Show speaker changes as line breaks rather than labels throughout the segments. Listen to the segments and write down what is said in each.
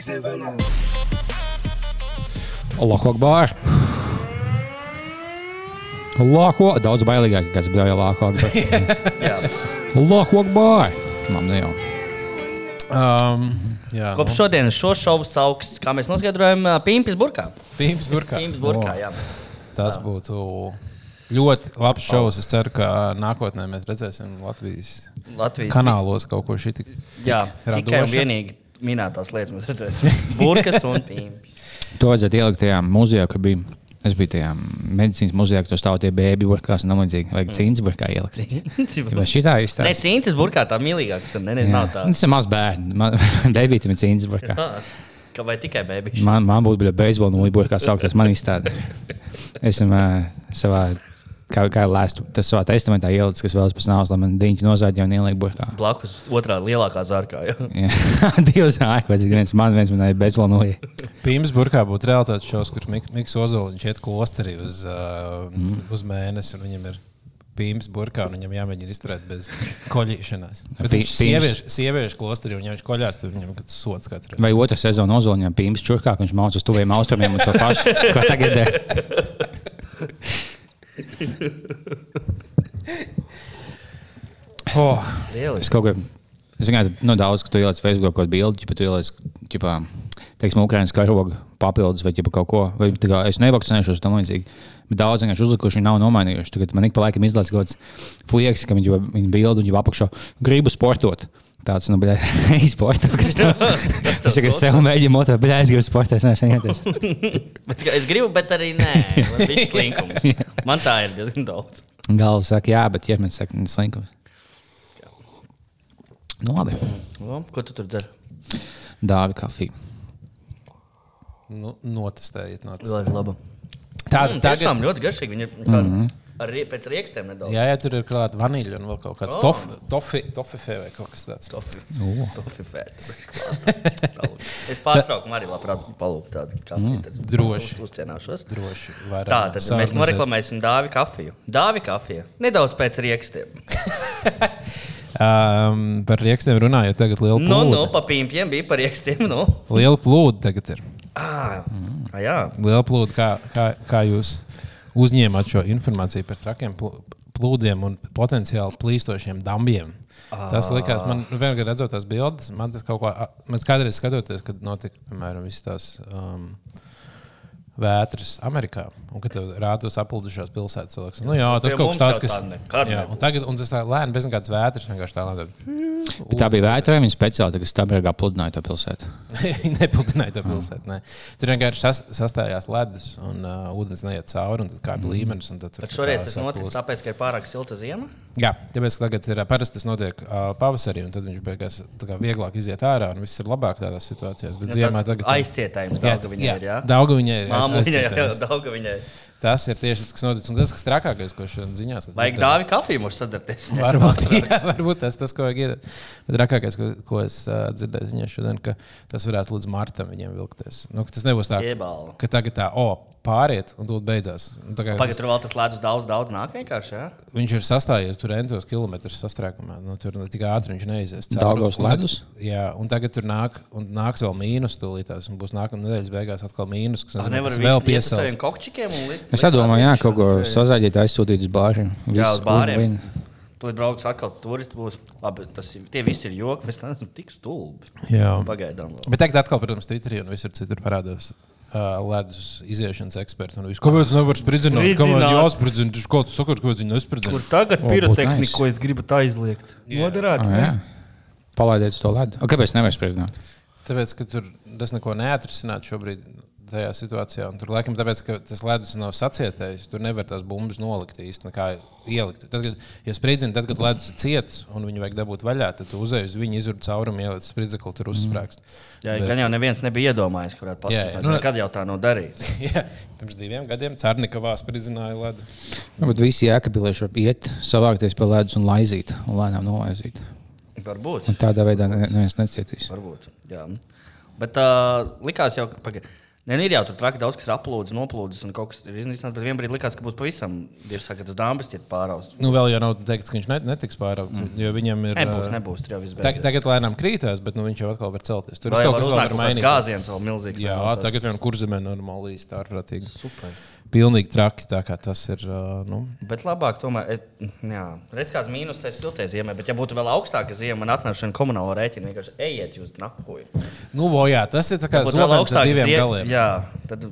seven.
Allahu Akbar. Allahu Daudz bailīgāk, kas bija Allahu Akbar. Allahu Akbar. Man ne jau.
Um, jā,
Nu.
Kopš šodienas šo šovu sauks, kā mēs noskaidrojam, ā, Pimpis Burkā.
Pīms burkā.
Pimpis Burkā, jā.
Tas būtu ļoti labs šovs. Es ceru, ka nākotnē mēs redzēsim Latvijas
Latvijas
kanālos kaut ko šitik.
Jā,
radoši.
tikai un vienīgi minētās lietas mēs redzēsim. Burkas un pīņķis.
To vajadzētu ielikt tajā muzejā, kur bija. Es biju tajā medicīnas muzejā, kur tur stāv tie bērni, burkās un tam līdzīgi. Vajag cīņas burkā ielikt. Vai šitā izstāst?
Nē, cīņķis burkā tā mīlīgāk, tad ne, ne, nav tā.
Tas ir mazs bērns. Man debītam ir cīņas burkā.
Ah, Ka vai tikai bēbiši?
Man, man būtu bijis beisbola nulli burkā saukties. Man izstāda. Esmu uh, savā, kā, kā lēstu, tas savā testamentā ielicis, kas vēlas pēc nāves, lai man diņķi nozāģē un ieliek burkā.
Blakus otrā lielākā zārkā. jā.
Jā. Divas ārā, vajadzīgi viens man, viens man ir beisbola nulli.
Pīms burkā būtu realitātes šovs, kurš Mik- Mikls Ozoliņš iet klosterī uz, uh, mm. uz mēnesi. un Viņam ir pīms burkā, un viņam jāmēģina izturēt bez koļīšanās. Bet
Pi-
viņš
pīms-
sieviešu, sieviešu klosterī, un ja viņš koļās, tad viņam kad sots katru.
Vai otrā sezonā ozoliņā pīns čurkā, ka viņš mācās uz tuviem austrumiem un to pašu, ko tagad ir.
Oh,
Lieliski.
Es kaut kādā ziņā nu, daudz, ka tu ieliec Facebook kaut kādu bildi, ja tu ieliec, ķipā, teiksim, Ukraiņas karogu papildus vai ķipā, kaut ko. Vai, tā kā, es nevakcinēšos tam līdzīgi. Bet daudz vienkārši uzlikuši, viņi nav nomainījuši. Tagad man ik pa laikam izlaiž kaut kāds fujaks, ka viņi jau viņa bildi un jau apakšā gribu sportot. Tāds, nu, bļā, izsporto, kas tev.
Tas
Es
tev
tikai sev mēģinu motivēt, bļā, es gribu sportot, es neesmu saņēmis.
Bet kā Es gribu, bet arī nē, man ir slinkums. Man tā ir diezgan daudz.
Galva saka, jā, bet ķermenis saka, tas slinkums. Nu, labi.
Nu, Ko tu tur dari?
Dāvi kafiju.
nu, notestējiet, notestējiet.
Ļoti labi.
Tāda
Mm,
tagad.
tiešām ļoti garšīgi. Viņi ir tādi
Mhm.
ar rie- pēc rīkstiem nedaudz.
Jā, jā, tur ir klāta vaniļa un vēl kaut kāds
Oh.
oh. tofifē vai kaut kas tāds.
Es pārtraucu, man arī labprāt palūku tādu kafiju.
Mm, Droši.
Uzcienāšos.
Droši varam
Tā tad mēs
sarunizēt.
noreklamēsim dāvi kafiju. Dāvi kafija. Nedaudz pēc rīkstiem.
Um, par rīkstiem runājot, tagad liela
Nu,
plūde.
nu, pa pīņķiem bija par rīkstiem. Nu.
Liela plūde tagad ir.
Ah,
Mm.
ah, jā,
Liela plūde, kā, kā, kā jūs uzņēmāt šo informāciju par trakiem plū- plūdiem un potenciāli plīstošiem dambiem. Tas
Ah.
likās, man vienkārši redzot tās bildes, man tas kaut kā, man kādreiz skatoties, kad notika, piemēram, visas tās um, vētras Amerikā, un kad tev rādos apildušās pilsētas cilvēks. Nu jā, tas
pie
kaut kas
mums
tāds,
jau
kas.
tā nekad
Jā, un tagad, un tas tā lēni, bez nekādas vētras, vienkārši tā lēni.
Bet tā bija vētra, viņa speciāli tagad stabērgā pludināja to pilsētu.
Viņi nepildināja to pilsētu. nē. Tur vienkārši sas, sastājās ledus, un uh, ūdens neiet cauri, un tad kāpj mm. līmenis. un tad tur
bet
tā
Mhm. šoreiz
kā
tas
saplūst.
notiks tāpēc, ka ir pārāk silta ziema.
Jā, tāpēc ka tagad ir ā, parasti tas notiek uh, pavasarī, un tad viņš beigās tā kā vieglāk iziet ārā, un viss ir labāk tādās situācijās. Bet
Ja
ziemā
tāds
tagad
Aizcietējums daudz viņai ir. Jā.
Daudz viņai ir. aiz-
Māmu viņai jau
aizcietējums.
daudz viņai.
Tas ir tieši tas, kas notiek. Un tas, kas trakākais, ko šodien ziņās, kad
Vajag
dzirdēju.
dāvi kafiju mums sadzerties.
Varbūt, jā, varbūt tas ir tas, ko ir. Bet rākākais, ko, ko es uh, dzirdēju viņai šodien, ka tas varētu līdz martam viņiem vilkties. Nu, ka tas nebūs tā,
Iebāla.
ka tagad tā, o, pāriet, un tūlīt beidzās. Un tā kā
Pagaidā,
tas,
tur vēl tas ledus daudz, daudz nāk vienkārši. Jā?
viņš ir sastājies tur entos kilometrus sastrēgumā. Nu, tur nu, tik ātri viņš neizies. cauri.
Daugavas
Un tad-
ledus?
Jā, un tagad tur nāk, un nāks vēl mīnus tūlītās, un būs nākamā nedēļas beigās atkal mīnus, kas
Tā
nezinu,
nevar
kas
vēl
vēl
piesākt saviem
piesaucās.
kokčikiem. un likt-
Es
likt
domāju, jā,
apakšā.
kaut ko sazāģēt, aizsūtīt uz bāriem.
Jā, uz
Visu
bāriem.
win-win.
Tur brauks atkal turisti. Būs. Labi, tas ir, tie visi ir joki. Mēs neesam tik stulbi.
Jā.
Pagaidām. vēl.
Bet tagad atkal, protams, Twitterī un visur citur parādās. Uh, ledus iziešanas eksperti. un viss. Kāpēc nevar spridzināt? Kāpēc
Spridzināt.
jāspridzina? Viņš kaut ko saka, kāpēc viņi nespridzina.
Kur tagad pirotehnika,
nice.
ko es gribu aizliegt? Moderāti.
Ah,
ne?
jā. Palaidiet uz to ledu. O, kāpēc nevar spriedzināt?
Tāpēc, ka tur tas neko neatrisināt šobrīd tajā situācijā. Un Tur laikam tāpēc, ka tas ledus nav sacietējis, tur nevar tās bumbas nolikt īstenībā, kā ielikt. Tad, kad, ja spridzina, tad, kad ledus ir ciets un viņu vajag dabūt vaļā, tad tu uzēji uz viņu izurbu caurumu, ieliec spridzekli, tur uzsprāgst.
Jā, gan jau neviens nebija iedomājies, ka varētu
Jā, Nu, jā.
patīk. Kad jau tā nav darīta?
Jā, pirms diviem gadiem Cārnikavā spridzināja ledu.
Nu, bet visi jēkabilieši var iet, savākties pie ledus un laizīt, un lēnām nolaizīt.
Varbūt.
Un tādā veidā ne- neviens necietīs.
Varbūt. Jā. Bet uh, likās jau, ka pagaid- Nē, nu ir jau tur traki daudz, kas ir aplūdes, noplūdes un kaut kas ir iznīcināts. Bet vienā brīdī likās, ka būs pavisam diezgan tas dāmas, ir pārāvis.
Nu, vēl jau nav teikts, ka viņš net, netiks pāraudzis. Mm. Jo viņam ir.
Mhm. Nebūs,
ā,
nebūs, tur jau viss
Tag,
beidzies.
tagad lēnām krītās, bet nu, viņš jau atkal var celties. Tur
Vai
ir
jau
kaut kas,
uznāk
kas var
kaut kāds
mainīt.
gāziens vēl milzīgs.
Jā,
nav, tas-
tagad jau kurzemē normāli tā ir rītīgi.
Super.
Pilnīgi traki, tā kā tas ir. ā, Nu,
Bet labāk, tomēr, es- jā, redz, kāds mīnus tas siltais ziemē. Bet, ja būtu vēl augstāka ziema un atnākšana komunālo rēķinu, vienkārši ejiet uz napoju.
nu vo, jā, tas ir tā kā
Būtu Nu, vēl
zobens ar
augstāka
diviem
ziem-
galiem.
Jā, tad.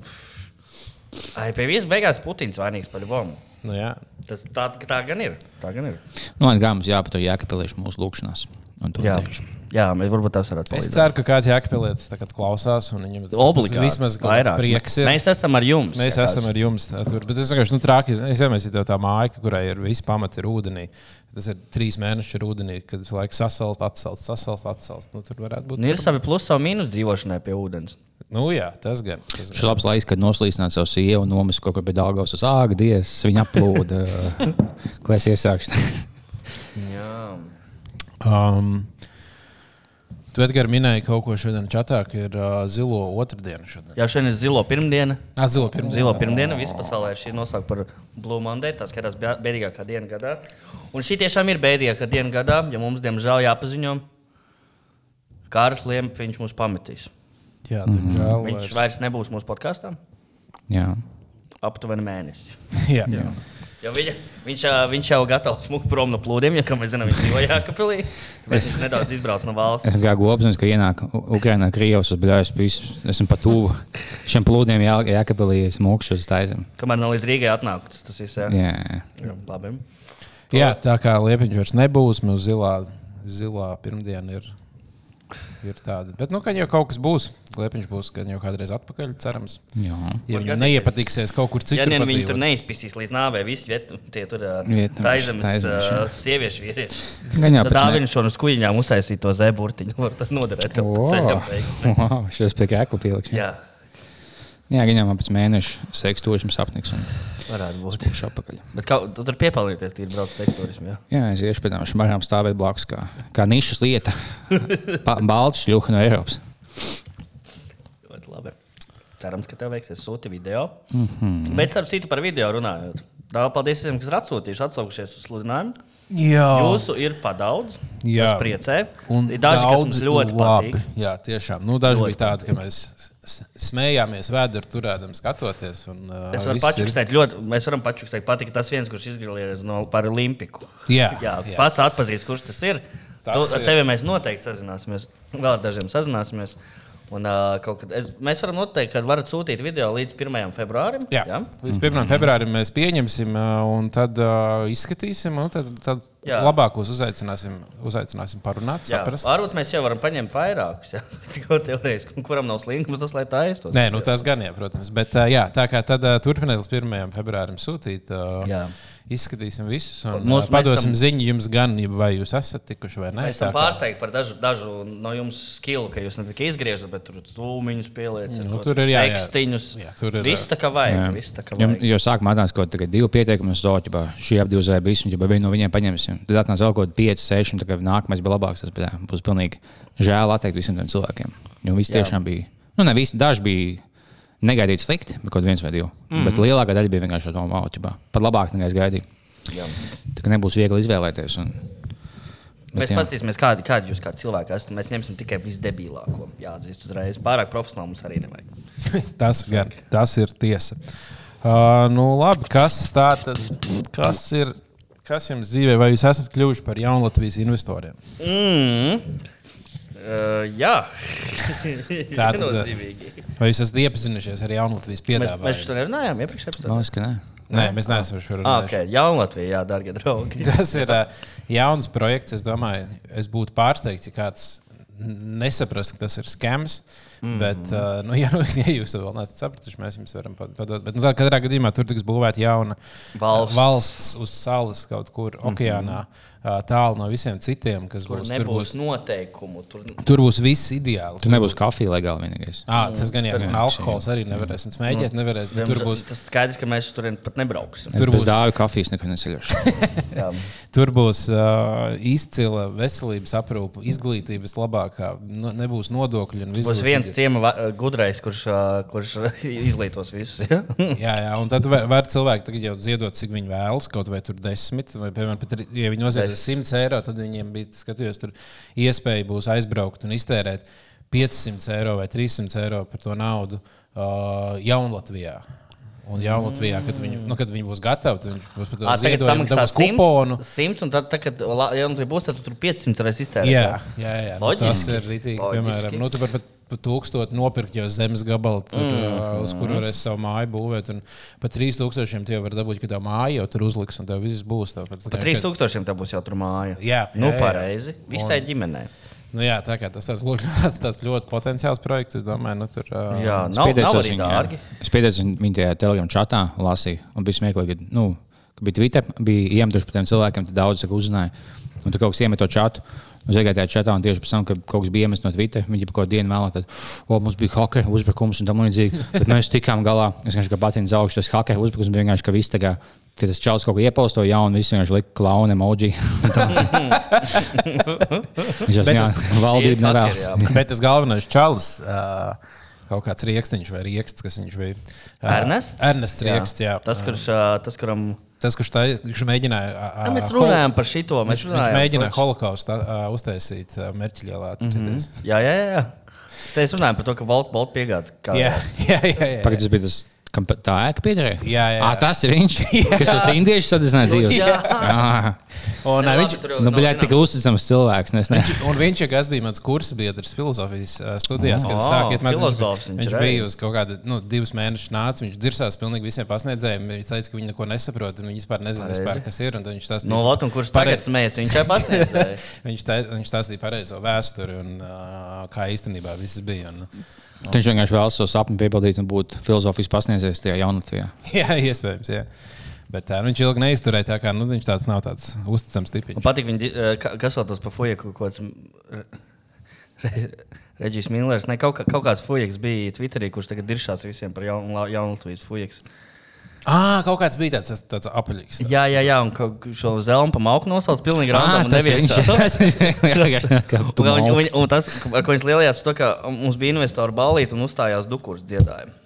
Ai, pie viesas beigās Putins vainīgs par bombu.
Nu, jā.
Tas tā, tā gan ir. Tā gan ir.
Nu, labi, kā mums jāpatur jākapelīšu mūsu lūkšanās. Un to darīšu.
jā mēs varbūt tās
Es
varētu palīdzēt.
ceru, ka kāds jākapelietis tagad klausās un viņam tas
Obligāti.
vismaz kaut kāds prieks ir.
Mēs esam ar jums.
Mēs
ja
esam
kāds.
ar jums. tā Tur, bet es vienkārši nu, traki iedomājos, ja tā māja, kurai ir visi pamati ir ūdenī. Tas ir trīs mēneši ir ūdenī, kad visu laiku sasalt, atsalt, sasalt, atsalt. Nu, tur varētu būt.
Nu, ir savi plusi, savi mīnus dzīvošanai pie ūdens.
Nu, jā, tas gan. Tas
Šis labs laiks, kad noslīcināt savu sievu un nomis kaut kur pie Dāngavas uz āga, dievs, viņa aplūda. ko es iesākšu?
Jā,
Um, tu Edgars minēji kaut ko šodien čatā, ka ir uh, zilo otrdiena šodien.
Jā šodien ir zilo pirmdiena.
Ah, zilo pirmdiena.
Zilo pirmdiena visā pasaulē ir nosaukta par Blue Monday. Tā skatās bē- bēdīgākā diena gadā. Un šī tiešām ir bēdīgākā diena gadā, ja mums, diemžēl, jāpaziņo, Kārs Liepa, viņš mūs pametīs.
Jā, diemžēl.
Viņš vairs nebūs mūsu podkāstā
Jā.
aptuveni mēnesi.
Jā, jā.
Jo Viņa, viņš, ā, viņš jau gatavs smūgt prom no plūdiem, ja kā mēs zinām, viņš dzīvo Jākapilī. Tāpēc Viņš nedaudz izbrauc no valsts.
Es kā gobsnis, ka ienāk U- Ukrainā, Krievijas apgājus, es esmu pat tuvu šiem plūdiem, jā, jākapelījas mūkšos taisam.
Kamēr nav līdz Rīgai atnākts, tas viss ir.
Jā.
Labi.
jā, tā kā liepiņš vairs nebūs, mums zilā, zilā pirmdiena ir, ir tāda. Bet, nu, ka jau kaut kas būs. Liepiņš būs gan jau kādreiz atpakaļ, cerams.
jā.
Ja
Var
viņam
gadīties.
neiepatiksies kaut kur
Ja
citur,
vien viņi
padzīvot.
tur neizpisīs līdz nāvei, visi vietu, tie tur
Vietnameši,
taizemes
taizemeši, jā.
sieviešu vīrieši.
Gan jau
Tad
pēc
dāvinu šo no skuļņām uztaisīt to zēburtiņu, var tad noderēt. tam pa ceļam beigās.
Wow, šis pie kēkla pielikšu. Jā,
Jā,
jā gan jau man pēc mēneša seks tošs apniks un
varētu būt.
būšu apakaļ.
Bet kā, tu tur piepelnīties, tie ir brauc teksturismu, jā.
Jā, es iešu pēc tam šmarām stāvēt blakus, kā, kā nišas lieta. Pa, balts šļuha no Eiropas.
Ļoti labi. Cerams, ka tev veiksies sūti video. Mm -hmm. Bet starp citu par video runājot. Tā, paldies visiem, kas ir atsūtījuši, atsaukušies uz sludinājumu.
Jā,
Jūsu ir padaudz.
Jā.
Jā, priecē.
Un
ir daži, kas mums ļoti labi. patīk.
Jā, tiešām. Nu, daži bija tādi, ka mēs s- smējāmies vēdru turēdam skatoties. Un, uh,
Es varu
viss ir-
pačukstēt, ļoti, mēs varam pačukstēt, patīk tas viens, kurš izgrilējies no Paralimpiku.
Jā,
jā,
jā.
jā. pats atpazīs, kurš tas ir.
Tas
Tas tu, ar
ir.
tevi mēs noteikti sazināsimies. Vēl ar dažiem sazināsimies. Un, uh, kad, es, mēs varam noteikt, ka varat sūtīt video līdz 1. februārim.
Jā. Jā. Līdz 1. Mm -hmm. februārim mēs pieņemsim, ā, un tad uh, izskatīsim, un tad, tad
Jā.
labākos uzaicināsim, uzaicināsim parunāt,
Jā,
saprast.
varbūt mēs jau varam paņemt vairākus. jā. Tikko teorētiski, un kuram nav slinkums, tas lai tā aiztos.
Nē, nu tas gan jā, protams. Bet ā, jā, tā kā tad ā, turpiniet līdz 1. februārim sūtīt. ā,
Jā.
Izskatīsim visus, un
Mums-
Mums,
mēs
padosim ziņu jums gan, vai jūs esat tikuši vai nē.
Mēs esam
tā kā-
pārsteigti par dažu, dažu no jums skilu, ka jūs ne tikai izgriežat, bet tur stūmiņus pieliecat,
Nu,
kaut
tur ir jā, jā.
tekstiņus.
Jā, tur ir,
Viss tā kā vajag. viss tā kā
Jo,
vajag.
jo sākumā atnāca kaut kāda divu pieteikumu, es domāju, ka šī apdivzēja visu, un ja vienu no viņiem paņemsim, tad atnāca vēl kaut kāda 5, 6, un tā kā nākamais bija labāks, tas bija, būs pilnīgi žēl atteikt visiem tiem cilvēkiem. Jo visi
Jā.
tiešām bija, nu ne visi, daži bija negaidīti slikti, bet kaut viens vai divi. Mm -hmm. Bet lielākā daļa bija vienkārši no mācībā. Pat labāk nekā es gaidīju.
Jā.
Tā kā nebūs viegli izvēlēties. Un... Bet
Mēs
jā.
paskatīsimies, kādi, kādi jūs kā cilvēki esat. Mēs ņemsim tikai visdebilāko. Jā, atzīst uzreiz. Pārāk profesionāli mums arī nevajag.
Tas gan tas ir tiesa. Uh, nu, labi, kas tā tad? Kas ir? Kas jums dzīvē, vai jūs esat kļuvuši par jaunu Latvijas investoriem?
Mm. Uh, jā,
Tā tad-
nozīmīgi.
Vai jūs esat iepazinušies ar jaunu Latvijas
Mēs,
piedāvājumu?
mēs to nerunājām
Man
iepriekšējā epizodē.
liekas, ka nē.
Nē, mēs neesam par šo
Ah,
runājuši.
ok, Jaunlatvijā, jā, darbie draugi.
Tas ir uh, jauns projekts. Es domāju, es būtu pārsteigts, ja kāds nesaprastu, ka tas ir skams. Mm. Bet, uh, nu, ja, ja jūs to vēl neesat sapratuši, mēs jums varam pa- padot. Bet, nu, tā, katrā gadījumā tur tiks būvēta jauna
Valsts. Mhm.
uh, valsts uz salas kaut kur okeānā, uh, tālu no visiem citiem, kas
Tur
būs. Tur
nebūs
būs,
noteikumu. Tur...
tur būs viss ideāli.
Tur nebūs kafija legāli vienīgais.
Ah, tas gan jau
Mm.
ir. Alkohols arī nevarēs un smēķēt, nevarēs. bet Tur būs,
Tas skaidrs, ka mēs tur pat nebrauksim.
Tur
Tur
būs
būs-
dāvana kafijas, neko nesaļošu.
Jā.
tur būs uh, izcila veselības aprūpe, izglītības labāk labākā. Nu, Nebūs nodokļu un viss
Būs viens ciemats gudrais, kurš, ā, kurš izlietos visus. Ja?
Jā, jā, un tad var, var cilvēki tagad jau ziedot, cik viņi vēlas, kaut vai tur desmit, vai, piemēram, pat, ir- ja viņi noziedz 100 eiro, tad viņiem bija, skatījos, tur iespēja būs aizbraukt un iztērēt 500 eiro vai 300 eiro par to naudu uh, Jaunlatvijā. Un Jaunlatvijā, kad viņi, nu, kad viņi būs gatavi, tad viņš būs par
Ā,
to
Tagad
ziedojumu,
samaksā
dabūs
100,
kuponu.
100 un tad, tad kad la- ja nu tu būs, tad tu tur 500 reizes iztērēsi.
Jā, jā, jā. Nu, tas
Loģiski.
ir rītīgi.
Loģiski.
Piemēram, nu, tu vari pat par tūkstošu nopirkt jau zemes gabalu, tur, mm. uz kuru varēs savu māju būvēt. Un par 3000 tie var dabūt, ka tev māja jau tur uzliks, un tev viss būs. Tev, pat,
Par 3000 tā būs jau tur māja.
Jā,
nu
jā, jā.
pareizi. Visai ģimenei.
Nu, jā, tā kā tas tāds, lūk, tāds, tāds ļoti potenciāls projekts, es domāju, nu, tur. Uh,
Jā, nav, nav arī dārgi.
Es pieteicos viņu tajā telegram čatā, lasīju, un bija smieklīgi, ka nu, ka bija Twitter, bija iemetuši par tiem cilvēkiem, tad daudz cilvēku uzzināja. Un tur kaut kas iemet to čatu. Es gāju tajā čatā, un tieši pēc tam, kad kaut kas bija iemests no Twitter, viņi jau kādu dienu vēlāk, tad, o, mums bija hockey uzbrukums un tā līdzīgi. Tad mēs tikām galā. Es vienkārši kā patīnu zaugšu, tas hockey uzbrukums bija vienkārši, ka viss tagad, kad tas čels kaut ko iepausto jaunu, visi vienkārši lika klauna emoji. Viņš jau
Bet
tādā
tas
ir
valdībā nevēlas.
kateri, jā.
Bet tas galvenais čalis. Uh, Kaut kāds rīkstiņš vai rīksts, kas viņš bija. Ā,
Ernests?
Ernests Rieksts, jā.
Tas, kurš, ā, tas kuram.
Tas, kurš tā kurš mēģināja. ā,
Jā,
ā,
mēs
hol-
runājam par šito. Mēs
Viņš, viņš
runājam
mēģināja
par-
holokaustu uh, uztaisīt uh, Merķielā. Mm -hmm.
Jā, jā, jā. Mēs runājam par to, ka Baltu Baltu piegādes. kā-
Jā, jā, jā. jā.
Pagaidzi, tas bija tas, kam pa- tā ēka piederēja.
Jā, jā, jā.
À, tas ir viņš. Kas tas indiešu sadedzināja dzīves?
Jā.
Jā.
Un, uh,
Nē, labi,
viņš,
tur jau
Nu,
nav
bija tik
zināms.
uzticams cilvēks. ne, Es nezinu,
un viņš, ja kas bija mans kursabiedrs filozofijas uh, studijās, kad
Oh,
oh, sākot mācīt,
filozofs
viņš,
viņš
viņš
ir,
bija uz kaut kāda nu, divas mēnešus nācis. Viņš dirsās pilnīgi visiem pasniedzējiem. Viņš teica, ka viņi neko nesaprot, un viņi vispār nezina,
Pareizi.
vispār, kas ir. un tad Viņš tas
Nu, Lotte, un kurš tagad smējas, viņš jau pasniedzēja.
Viņš tā- viņš stāstīja pareizo vēsturi un uh, kā īstenībā viss bija. Un,
viņš vienkārši vēlas savu sapni piepildīt un būt filozofijas pasniedzējs tajā jaunatvijā.
jā, iespējams. Jā. Bet tā, nu, viņš ilgi neizturēja. Tā kā, nu, viņš tāds nav tāds uzticams
Man
tipiņš.
patīk, viņa, di- eh, ka- kas vēl tas par fujeku kaut kāds. mm, Re- Reģis Millers, ne kaut, kā, kaut kāds fujaks bija Twitterī, kurš tagad diršās visiem par jaunu jaun Latvijas fujaks.
Ah, kaut kāds bija tāds, tāds apaļīgs.
Jā, jā, jā, un ka- šo zelnu pamauku nosauc pilnīgi
Ā,
random. un
tas ir
neviens-
viņš. Jā, kā tu
Un, un,
malki.
un, un tas, ar ko viņš lielījās, to, ka um, mums bija investoru balīti un uzstājās dukurs dziedājumu.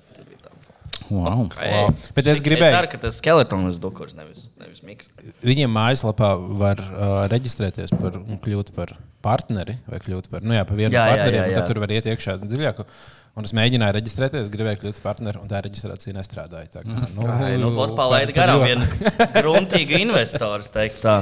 Wow.
Ei,
Bet es
Es
gribēju,
ceru, ka tas skeletons ir dukurs, nevis, nevis miks.
Viņiem mājaslapā var uh, reģistrēties par, un kļūt par partneri vai kļūt par, nu jā, par vienu
Jā,
no
jā,
partneriem.
jā,
un
jā.
Tad tur var iet iekšā dziļāk. Un es mēģināju reģistrēties, gribēju kļūt par partneri, un tā reģistrācija nestrādāja. Tā kā, nu,
Ai, Nu, Lotte palaida garām vienu gruntīgu investoru, es teiktu tā.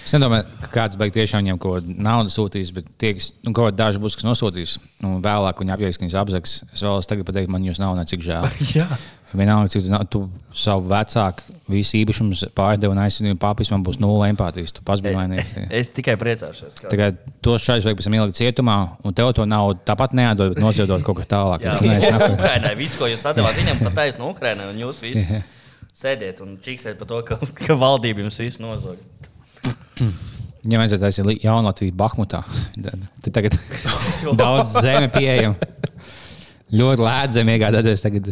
Es nedomāju, ka kāds beigs tiešām viņam kaut kādu naudu sūtīs, bet tie, kas nu, kaut kādā daži būs, kas nosūtīs, un vēlāk viņi apjēgs, ka viņas apzags. Es vēlos tagad pateikt, man jūs nav necik žēl.
Jā.
Vienalga, cik tu na- tu savu vecāku visu īpašumu pārdevi un aizsūtīji papīrs, man būs nulle empātijas. Tu pats biji vainīgs. jā.
Es tikai priecāšos. ka-
Tagad tos šādus vajag pēc tam ielikt cietumā, un tev to naudu tāpat neatdod, bet nociedot kaut kur tālāk.
Jā,
Nē, es neku-
Ukrainai viss, ko jūs atdevāt viņam, pateicis no Ukrainas, un jūs visi sēdiet un čīksiet par to, ka, ka valdība jums visu nozog.
Viņam vajadzētu taisīt jaunu Latviju Bahmutā. Tad- tad Tagad daudz zeme pieejama. Ļoti lēti zem iegādāties tagad.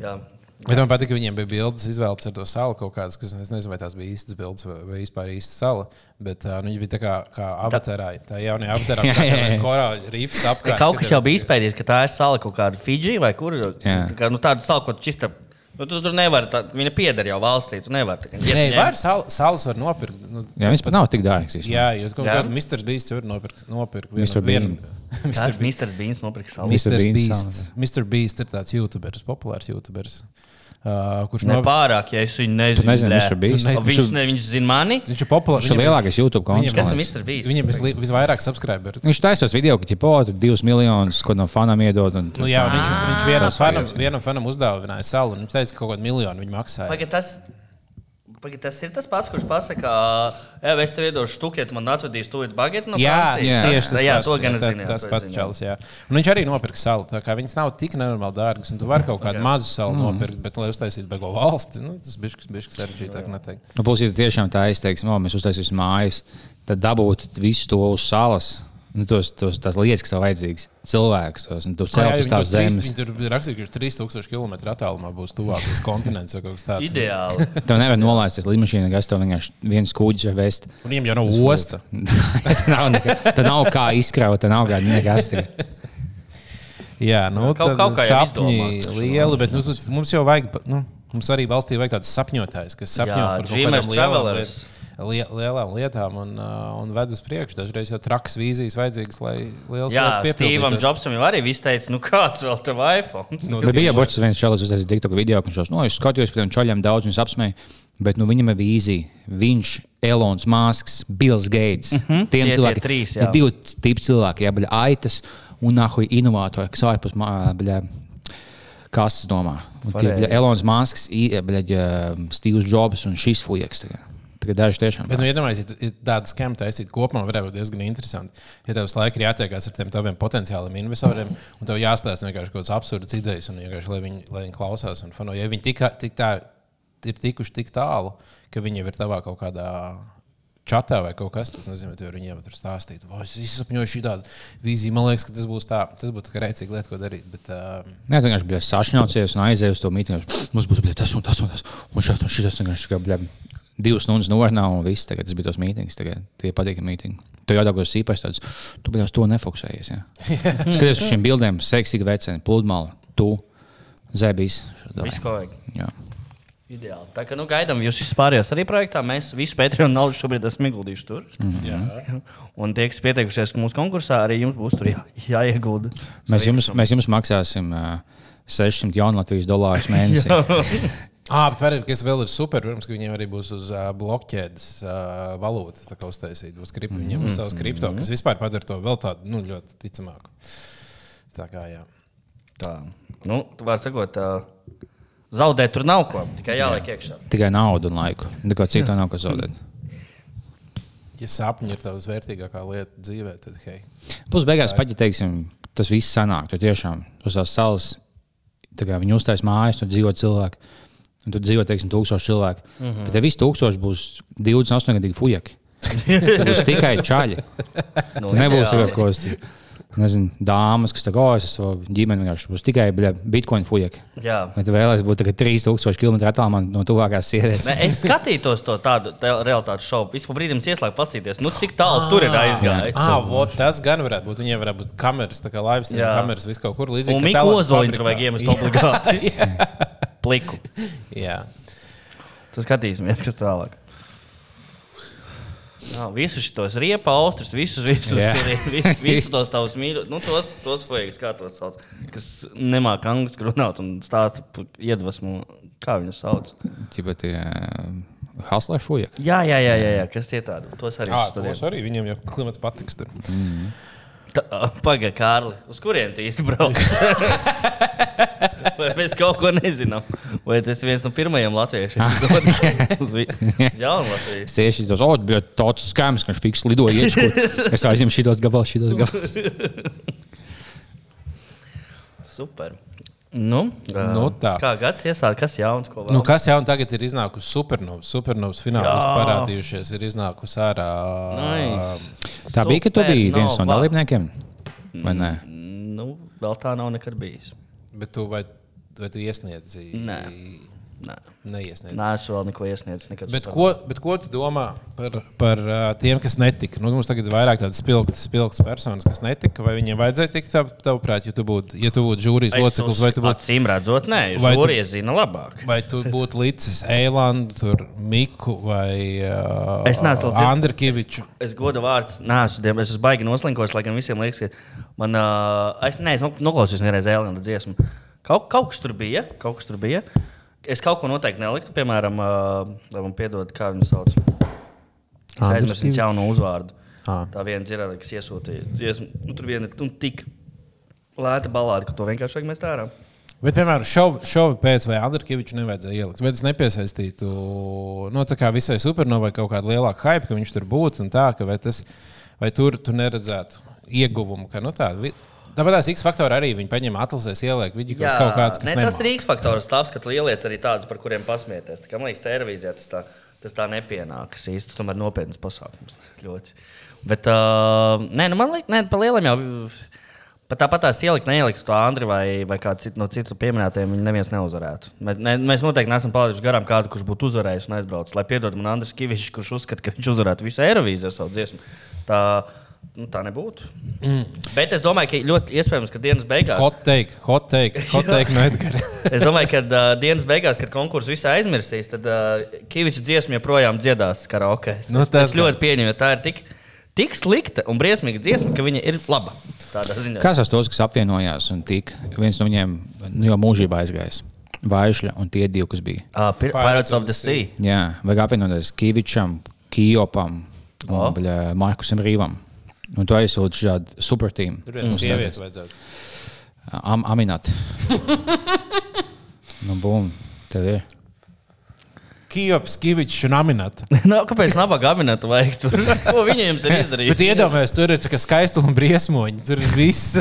Jā.
Bet man patīk, ka viņiem bija bildes izvēlētas ar to salu kaut kādas, kas es nezinu, vai tās bija īstas bildes vai, vai vispār īsta sala. Bet uh, nu, viņi bija tā kā, kā avatārā, tā jaunajā avatārā,
Jā, jā, jā.
kā korāļa rīfs apkārt.
Kaut kas jau bija izpētījis, ka tā ir sala kaut kāda Fidži vai kur.
Jā.
Tā Kā, nu, tādu salu, ko tu čista. Nu, tu tur nevar, tā, viņa pieder jau valstī. Tu nevari. tā kā iet
Nē,
ņemt.
var sal, salas var nopirkt. Nu,
Jā, viņš pat nav tik dārgs. īstenībā.
Jā, jūs kaut
Jā.
kādā Mr. Beast var nopirkt. nopirkt vienu-
Mr.
vienu-
Kāds Mr. Beans nopirka salu.
Mis-
Mr.
Bean
Beast. Mr. Beast ir tāds youtuberis, populārs youtuberis. Uh, kurš
Ne
no
pārāk, ja es viņu nezinu.
nezini,
blē.
Mr. Beast?
Tu ne- Viņš, ne, viņš zina mani.
Viņš ir populārs.
Viņš ir lielākais YouTube konts.
Kas ir
man liekas.
Mr. Beast?
Viņam visli- visvairāk subscriberu.
Viņš taisās video, ka tipo, tur divus miljonus kaut no fanām iedod. Un,
Nu, jā, un viņš,
Ah.
viņš vienam, fanam, vienam fanam uzdāvināja salu. un Viņš teica, ka kaut kādu miljonu viņa maksāja.
Pagad, tas, pagad, tas ir tas pats, kurš pasakā, ka es tev iedodu štuku, ja tu man atvedīsi to bagātu. No
Jā,
Francijas."
jā, tieši tas
jā,
pats,
to gan
jā,
es
tas-
zinu. jā,
Tas
to es
pats
zinu.
čels, jā. Un viņš arī nopirka salu. tā kā Viņas nav tik nenormāli dārgas, un tu vari kaut kādu mazu salu
Mm.
nopirkt, bet, lai uztaisītu beigo valsti, nu, tas bija bijis sarežģītāk.
Mm.
noteikti.
Nu, Plus, ja tiešām tā izteiksme, no, mēs uztaisīsim mājas, tad dabūt visu to uz salas. Nu, tos, tos, tās lietas, kas tev vajadzīgas, cilvēks tos nu, tu celt uz
viņi
tās
tur trīs-
zemes.
viņi Tur bija rakstīts, ka viņš 3000 km attālumā būs tuvākais kontinents vai kaut kas tāds.
Ideāli.
Tev nevar nolaisties līdmašīnā, kas tev vienkārši viens kūģis vai vest.
Un viņam jau nav ostas.
nav nekā, tā nav kā izkraut, tā nav kā nekas. Tur.
Jā, nu, kaut,
Kaut- kaut
kaut
kā
kā
jau izdomās
sapņi
taču,
lieli, bet nu, tu- mums jau vajag. pa- Nu, Mums arī valstī vajag tāds sapņotājs, kas sapņo
Jā,
par kaut
dreamers,
kādām lielām,
travelers.
liet- lie- lielām lietām un, uh, un ved uz priekšu. Dažreiz jau traks vīzijas vajadzīgas, lai liels lietas
Jā, Steve'am
piepildītos.
Jobsam jau arī viss teica, nu kāds vēl tev iPhone?
Nu,
Bet bija
tieši.
bočs, viens čalis uztaisīja TikTok video, kurš no, es skatījos par tiem čaļiem, daudz viņus apsmēju. Bet nu, viņam ir vīzija. Viņš, Elonas Masks, Bills Gates. Mm -hmm. Tiem
Mhm. Tie- tie
cilvēkiem
trīs, jā.
ir divi tipi cilvēki. Jā, baļā aitas un nahuj inovātori, kas ārpus mā- baļā kastes domā. Un Tie, baļā,
Pareizi.
Elonas Masks, i- baļā, ģe, Steve's Jobs un šis fujaks. tagad. Tagad daži tiešām.
Bet, nu, iedomājieties, ja tu- ja tādu skēmu taisīt kopumā, varētu būt diezgan interesanti. Ja tev visu laiku ir jātiekās ar tiem taviem potenciāliem investoriem, un tev jāstāsta vienkārši kaut kādas absurdas idejas, un vienkārši lai viņi, lai viņi klausās un fano. Ja viņi tik, tik tā, ir tikuši tik tālu, ka viņi jau ir tavā kaut kādā. Čatā vai kaut kas tāds, nezinu, tur viņiem tur stāstīt. "O, Es izsapņoju šādu vīziju. Man liekas, ka tas būs tā, tas būtu tā kā rēcīga lieta, ko darīt. Bet, uh,
Nē, tā vienkārši bija sašņaucies un aizēju uz to mītīnu. Mums būs bija tas un tas un tas. Un šādi un šitas vienkārši kā bļa. Divas stundas norunā un viss. Tagad tas bija tos mītīņus. Tagad tie patīkami mītīņi. Tu jau dabūsi īpaši tāds. Tu biji uz to nefokusējies. Ja? Skaties uz šīm bildēm. Seksīgi veceni, pludmali, tu, zebīs.
Viss, ko vajag.
Jā.
Ideāli. Tā kā nu, gaidām jūs visus pārējos arī projektā. Mēs visu Patreon naudu šobrīd esam ieguldījuši tur.
Mhm.
Mm. Un tie, kas pieteikušies mūsu konkursā, arī jums būs tur jā, jāiegulda.
Mēs, jums, mēs jums maksāsim uh, 600 jaunu Latvijas dolārus mēnesī.
Ah, pērēt, kas vēl ir super, protams, ka viņiem arī būs uz uh, blokķēdes uh, valūta tā kā uztaisīta. Būs kripto, viņiem
Mhm.
būs savs kripto, kas vispār padara to vēl tādu nu, ļoti ticamāku. Tā kā jā.
Tā. Nu, tu vari sakot, ā, zaudēt tur nav ko, tikai jāliek iekšā.
Tikai naudu un laiku. Neko citu nav ko zaudēt.
Ja sapņi ir tavs vērtīgākā lieta dzīvē, tad hei.
Plus, beigās pat, ja teiksim, tas viss sanāk, tad tiešām uz tās salas tā kā viņi uztais mājas, tur dzīvo cilvēki. Un tur dzīvo, teiksim, tūkstoši cilvēku. Mm -hmm. Bet tie visi tūkstoši būs 28 gadu fujaki. Tie būs tikai čaļi.
Nu,
Tur nebūs
ideāli.
jau kaut kas. Nezinu, dāmas, kas tā kā es esmu ģimene, vienkārši būs tikai bļa, bitkoinu fujaki.
Jā.
Vai tu vēlēsies būt tagad 3000 km attālumā no tuvākās sievietes?
Nē, Es skatītos to tādu te- realitātes šovu. Vispār brīdim ieslēgtu, paskatīties, nu, cik tālu tur ir aizgājis.
Ah, vot, tas gan varētu būt. Viņiem varētu būt kameras, tā kā live stream
Jā.
kameras, viss kaut kur līdzīgi.
Un
kā
Miku
talantu
Ozoliņu
fabrikā.
tur vajag iemest obligāti. Pliku.
Jā.
Tad skatīsimies, kas tālāk. Jā, visus šos riepa, austrus, visus, visus,
Jā.
yeah. visus, visus tos tavus mīļos, nu, tos, tos poegas, kā tos sauc, kas nemāķi angļuiski runāt un stāsta par iedvesmu, kā viņus sauc.
Tikai tie haslē fujaki.
Jā, jā, jā, jā, jā kas tie tādi, tos arī
Ah, tos
studēju.
arī viņiem jau klimats patiks. Tur.
Mm. Pagaidi, Kārli, uz kurien tu īsti brauc? Vai mēs kaut ko nezinām? Vai tas ir viens no pirmajiem latviešiem? kas dodas uz vi- uz jaunu Latviju.
Es tieši tos otrs bija tāds skams, ka viņš fiks lidoja iekšā. Es aizņemu šitos gabalus, šitos gabalus.
Super. Nu, ā,
Nu tā.
Kā gads iesāka, kas jauns, ko vēl?
Nu, kas jau tagad ir iznākusi supernovs? Supernovs finālisti
Jā.
parādījušies, ir iznākusi ārā.
Nice.
Tā bija, ka tu biji viens no Mm.
Supernova.
dalībniekiem. Vai nē?
Nu, vēl tā nav nekad bijis.
Bet tu vai, vai tu iesniedzi?
Nē. Nē,
Neiesniedz.
Nē es vēl neko iesniedzis. Nekad
Bet
super-
ko, bet ko tu domā par, par uh, tiem, kas netika? Nu, mums tagad ir vairāk tādas spilgtas, spilgtas personas, kas netika. Vai viņiem vajadzēja tikt tā, tavuprāt, ja tu būtu ja tu būtu žūrijas
Es
loceklis, vai
uz-
tu būtu,
Acīm redzot, nē,
Vai tu-
jūrija zina labāk.
vai tu būtu līdzis Eilandu, tur, Miku vai uh,
Es neesmu dzird-
Andrikiviču?
Es godu vārds, nē, es esmu baigi noslinkojis, lai gan visiem liekas, ka man, uh, es neesmu noklausījis vienreiz Ēlanda dziesmu. Kaut, kaut kas tur bija, kaut kas tur bija. Es kaut ko noteikti neliktu, piemēram, uh, lai man piedod, kā viņu sauc. Es
Andris
aizmirsu viņas jaunu uzvārdu.
Ā.
Tā viena dzirdēja, kas iesūtīja dziesmu. Nu, tur viena nu, tik lēta balāde, ka to vienkārši vajag mest ārā.
Bet, piemēram, šovu šov pēc vai Andrikiviču nevajadzēja ielikt. Vai tas nepiesaistītu no, tā kā visai supernovai kaut kādu lielāku hype, ka viņš tur būtu un tā, ka vai, tas, vai tur tu neredzētu ieguvumu. Ka, nu, tā, vi- Tāpat tās X faktori arī viņi paņem atlasēs, ieliek viņu kaut kāds, kas
ne,
nemā.
tas ir Rīgas faktors, stāvs, ka tu ieliec arī tādus, par kuriem pasmieties. Tā kā, man liekas, televīzijā tas tā Tas tā nepienākas īsti. Tomēr nopietns pasākums. Ļoti. Bet, uh, nē, nu man liekas, par lieliem jau. Pat tāpat tās ielikt, neielikt to Andriu vai, vai kādu citu no citu pieminētiem, viņa neviens neuzvarētu. Mēs, ne, mēs noteikti neesam palaiduši garām kādu, kurš būtu uzvarējis un aizbraucis. Lai piedod man Andris Kavičs, kurš uzskata, ka viņš uzvarētu visu Eirovīziju ar savu dziesmu. Tā, nu, tā nebūtu. Mm. Bet es domāju, ka ļoti iespējams, ka dienas beigās.
Hot take, hot take, hot take no Edgara.
Es domāju, ka uh, dienas beigās, kad konkursu visai aizmirsīs, tad uh, Kaviča dziesma joprojām dziedās karaoke. Es,
Nu,
nu,
tas
es ļoti pieņemu, ka tā ir tik, tik slikta un briesmīga dziesma, ka viņa ir laba. Tādā ziņā.
Kas ar tos, kas apvienojās un tika? Viens no viņiem nu, jau mūžībā aizgājis. Vaišļa un tie divi, kas bija.
Uh, Pir- Pirates of the Sea.
Jā, vajag apvienoties Kīvičam, Kijopam un
O.
oh. Markusam Rīvam. Un tu aizsūti šādu supertīmu.
Tur viens sievietes vajadzētu.
Am, aminat. nu, bum, tev ir.
Kijops, Kivičs un Aminat.
Nav, kāpēc nav gabineta vajag tur? Ko viņi jums ir izdarījuši?
Bet iedomājieties, tur ir tā kā skaistuma un briesmoņi. Tur ir viss.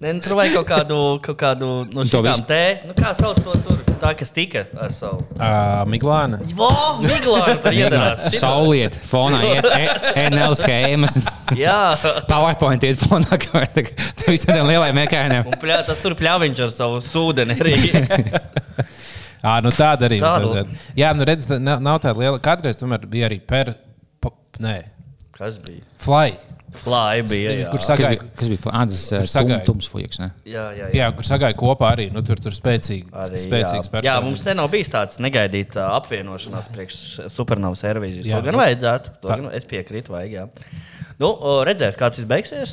Ne, nu, tur vajag kaut kādu, kaut kādu no
To visu-
šīm tēmām. Nu, kā sauc to tur? Tā, kas tika ar savu.
Ā, Miglāna.
Vau, Miglāna tur iedarās. Šitā.
Sauliet, fonā iet e- NL schēmas.
Jā.
PowerPoint iet fonā, kā tā kā visiem tiem lielajiem mekāniem.
Un pļā, tas tur pļāviņš ar savu sūdeni. arī.
Ā, nu tāda arī mums
Tādu.
vajadzētu. Jā, nu redz, tā nav, nav tāda liela. Kādreiz tomēr bija arī per... Pa, nē,
Kas bija?
fly.
Fly bija. Jā,
Kur
Kas
sagāja,
bija? Kas bija? Ah, tas ir tum,
sagāja?
tums fujiks, ne?
jā, jā. jā.
jā, kur sagāja kopā arī. Nu, tur tur spēcīgi,
Arī,
arī, spēcīgs
jā.
personības.
jā, mums te nav bijis tāds negaidīts uh, apvienošanās priekš supernovas aerobīzijas.
Jā,
To gan
nu,
vajadzētu. To
tā.
gan es piekrītu, vajag. Jā. Nu, o, redzēs, kāds tas beigsies.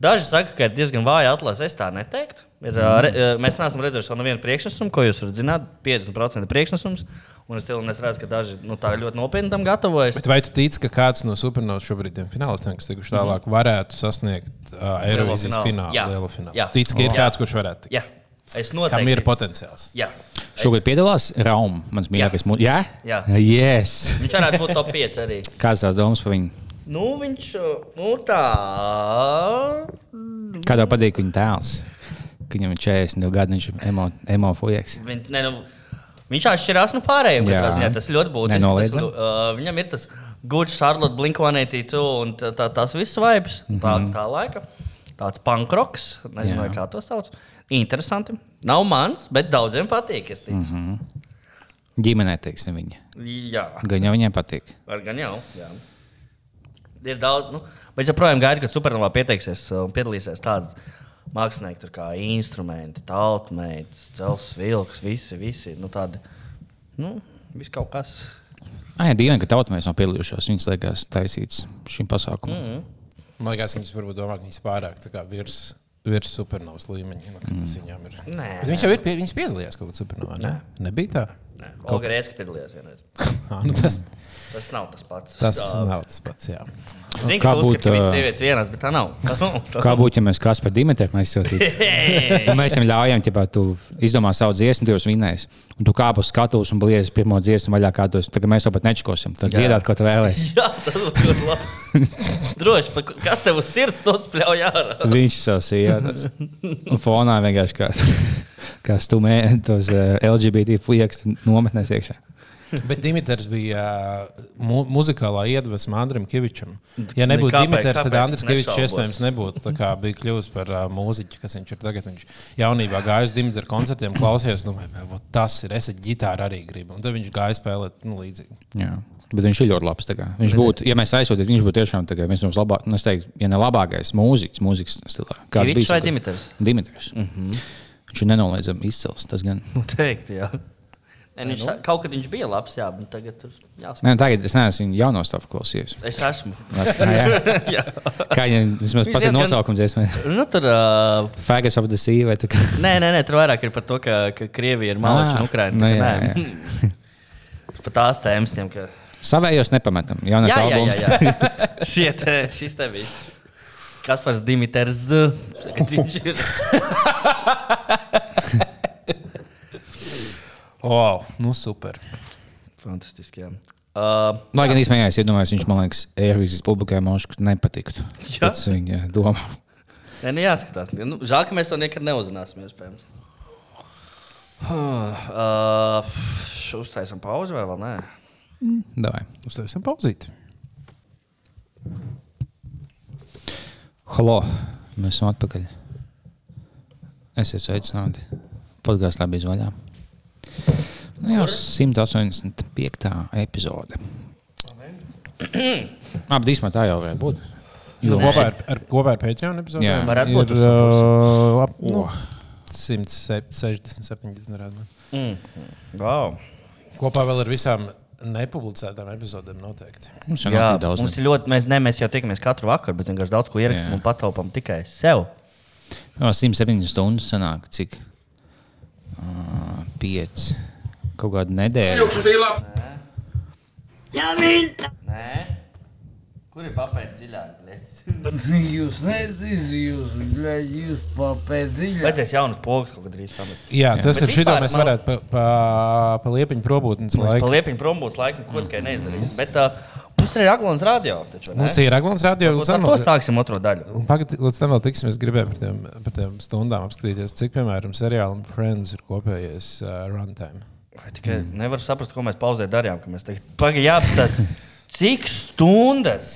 Daži saka, ka ir diezgan vāja atlase. Es tā neteiktu. Ir, ā, re, ā, mēs neesam redzējuši vēl nevienu priekšnesumu, ko jūs varat zināt. 50% priekšnesums. Un es, tev, un es redzu, ka daži nu, tā ļoti nopietni tam gatavojas.
Bet vai tu tici, ka kāds no supernovas šobrīd tiem finālistiem, kas tikuši tālāk, varētu sasniegt uh, Eirovisijas
Lielo Mhm. finālu.
finālu?
Jā.
Lielo finālu.
Jā.
Tici, ka ir
Jā.
kāds, kurš varētu tikt.
Jā, es
Kam
noteikti.
ir potenciāls?
Jā.
Šogad piedalās Rauma, mans mīļākais mūziķis. Jā?
Jā.
Yes.
Viņš varētu būt top 5 arī.
Kādas tās domas par viņu?
Nu, viņš uh, nu, tā.
Kā tev patīk viņa tēls? Ka Viņam ir 42 gadi, viņš ir emo, emo fujaks.
Viņ, ne, nu, viņš atšķirās no pārējiem.
Jā.
katrā ziņā. Tas ļoti būtiski. Tas,
Nenoliedzami.
uh, viņam ir tas gudrs, Charlotte, Blink-182 un tā, tā, tās visas vibes. Mm -hmm. tā, tā laika. Tāds pankroks, nezinu,
Mhm. Jā.
kā to sauc. Interesanti. Nav mans, bet daudziem patīk. Es ticu.
Mhm.
Mm
Ģimenē, teiksim, viņa.
-hmm. Jā,
Gan jau viņai patīk.
var gan jau. Jā. Ir daudz, nu, bet joprojām gaidu, kad supernovā pieteiksies uh, un piedalīsies tādas mākslinieki, tur kā instrumenti, tautmeitas, cels vilks, visi, visi, nu tādi, nu, viss kaut kas.
Ai, dīvaini, ka tauta mēs nav piedalījušās. Viņas liekas taisītas šim pasākumam. Mm.
Man liekas, viņš varbūt domā, ka viņš ir pārāk tā kā virs. Virs supernovas līmeņa. Nu, ka tas viņam ir.
Nē.
Bet Viņš jau ir pie, viņš piedalījās kaut kādā supernovā. Ne? Nebija tā.
Olga Rēcka piedalījās vienreiz.
Ah, nu tas
Tas nav tas pats.
tas nav tas pats. Jā.
Es zinu,
nu, Kā
ka tu
būtu,
uzskati, ka visas
ā,
sievietes vienās, bet tā nav. Tas nav. Tas
Kā būtu, ja mēs kāds par Dimitru aizsūtītu?
Hei!
Un Nu, Mēs viņam ļaujam, ja tu izdomā savu dziesmu, tu jau svinēsi. Un tu kāp uz skatuves un blies pirmo dziesmu vaļā, kā tu esi. Tagad mēs jau pat nečkosim. Tad dziedāt, ko tu vēlēsies.
Jā, tas būtu ļoti labi. Droši, pa- kas tev uz sirds to spļauj ārā?
Viņš ir savs sievietes. Un fonā vienkārši kā, kā stumē tos eh, LGBT fujaks nometnēs iekšā.
Bet Dimitrs bija ā, mu muzikālā iedvesma Andriem Kavičam. Ja nebūtu
Kāpēc-
Dimitrs, tad
kāpēc
Andris Kavičs
nešaubos?
iespējams nebūtu tā kā, bija kļuvis par uh, mūziķu, kas viņš ir tagad. Viņš jaunībā gāja uz Dimitra koncertiem, klausījās, nu, vai, vai, tas ir, es ģitāru arī gribu. Un tad viņš gāja spēlēt nu, līdzīgi.
Jā. Bet viņš ir ļoti labs. tā kā. Viņš būtu, ja mēs aizsūtītu, viņš būtu tiešām tā kā viens no mums labākajiem, es teiktu, ja ne labākais mūziķis, mūzikas stilā.
Kivičs
bijis,
vai
kur-
Dimitrs?
Dimitrs. Mm -hmm. Viņš ir nenoliedzami izcils. tas gan.
Nu, Teikt, jā. Nē, nu. viņš, sa- kaut kad viņš bija labs, jā, bet tagad tur jāsaka.
Nē, nu, tagad es neesmu viņa jauno stāstu klausījies.
Es esmu.
Vec- Kā, jā.
jā.
kā viņam vismaz
Viņš
pats ir
diezgan-
nosaukums, dziesmē.
Nu, tur, uh,
Fagas of the Sea vai tā kā.
nē, nē, nē, tur vairāk ir par to, ka, ka Krievija ir malāča
Ā,
un Ukraina.
nu
tā
jā,
ka nē. Par tās tēmas ņem, ka.
Savējos nepametam. Jaunais
Jā, jā, jā,
albums.
jā. Šie te, šis te viss. Kas par Dimitrs? Tagad viņš ir.
Wow, nu super.
Fantastiski, jā. Uh,
Lai gan īstenībā es iedomājos, viņš man liekas, Eirovisijas publikai mošu nepatiktu.
Jā.
Tas viņa doma.
nē, nu jāskatās. Nu, žēl, ka mēs to nekad neuzzināsim, iespējams. Uh, uztaisam pauzi vai vēl nē?
Davai.
Uztaisam pauzīti.
Halo, mēs esam atpakaļ. Es esmu aicināts. Podkāstā bija zvaigžā. Nu, jau 185. epizode. Abi īstenībā tā jau varētu būt.
Nu, kopā ar, ar, kopā ar Patreon
Jā.
epizodēm
Varētu būt
ir
uz to
uh, lab, nu, 160, 70. Redzam.
Mm. Wow.
Kopā vēl ar visām nepublicētām epizodēm noteikti.
Mums jau
Jā,
nav tik daudz.
mums ir ļoti, mēs, ne, mēs jau tiekamies katru vakaru, bet vienkārši daudz ko
Jā.
ierakstām un pataupām tikai sev.
Jā, 170 stundas sanāk, cik? Uh, 5. Kaut kāda nedēļa.
Nē, kur ir papēta dziļāk?
Jūs nezināt, jūs, bļaļ, jūs papēdziļā.
Vajadzēs jaunas pogas kaut kad drīz samest.
Jā, tas
Bet
ir šito
vispār
mēs
man-
varētu pa, pa, pa liepiņu probūtnes
Mēs
laiku.
paliepim prom būs laikam, ko tikai neizdarīs. Bet uh, mums ir Aglons radio. Taču,
Mums ir Aglons radio.
Ar to sāksim otro daļu.
Pagaidām, līdz tam vēl tiksim. Es gribēju par tiem, par tiem stundām apskatīties, cik, piemēram, seriālam Friends ir kopējais uh, runtime.
Vai tikai mm. nevaru saprast, ko mēs pauzē darījām. ka Mēs tagad pagaidām, cik stundas.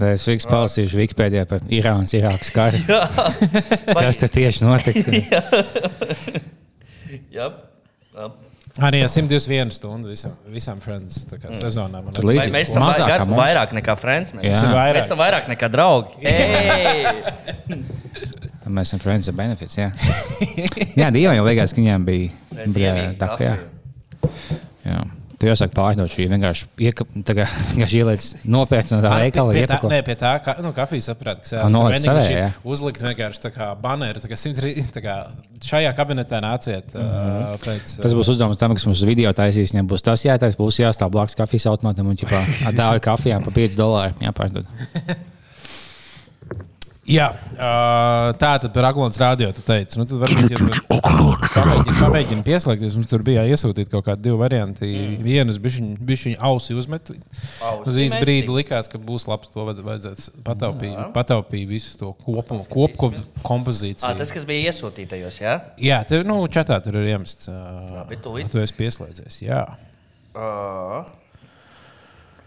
Tad es fiks palasīšu Wikipēdijā par Irānas Irākas karu.
Pag-
Kas tur tieši notika?
Jā, jā. Mm.
Arī 121 stundu visam, visam Friends tā kā, sezonām.
Tur līdz-
Vai
Cik
Mēs esam
mazāk kā
mazāk,
mums?
vairāk nekā friends. Mēs,
Jā.
esam-
Vairāk.
mēs esam vairāk nekā draugi. Ei!
Mēs esam Friends of Benefits. Jā, jā Dievam jau liekas, ka viņiem bija brē,
Dievīgi,
tā kā. Jā.
kafija.
jā. Tu jāsāk pārdot šī vienkārši, ieka, tā kā, vienkārši ieliec nopietni no tā
Ar-
veikala.
pie tā,
iepako.
nē, pie tā, ka nu, kafija saprata, ka
Ah, noliec
tā
savējā, jā.
uzlikt vienkārši tā kā baneri. tā kā 103 tā kā Šajā kabinetā nāciet mm
Mhm.
-hmm. uh, pēc.
Tas būs uzdevums tam, kas mums video taisīs. Viņam būs tas jātaisa, būs jāstāv blakus kafijas automātam un ķipā, atdāvā kafijām pa 5 dolāriem. Jāpārdod.
Jā, uh, tā tad par Aglons radio tu teici. Nu, tad varbūt jau pamēģini, pamēģini pieslēgties. Mums tur bija jāiesūtīt kaut kādi divi varianti. Mm. Vienu bišķiņu ausi uzmetu. Uz īsu brīdi likās, ka būs labs. To vajad- vajadzētu pataupīt. Pataupīt visu to kopumu, kopkopu
Ā, Ah, Tas,
kompozīciju.
kas bija iesūtītajos, jā.
Jā, tev, nu, čatā tur ir iemests. Uh,
bet tūlīt.
tu esi pieslēdzies. Jā.
Ā.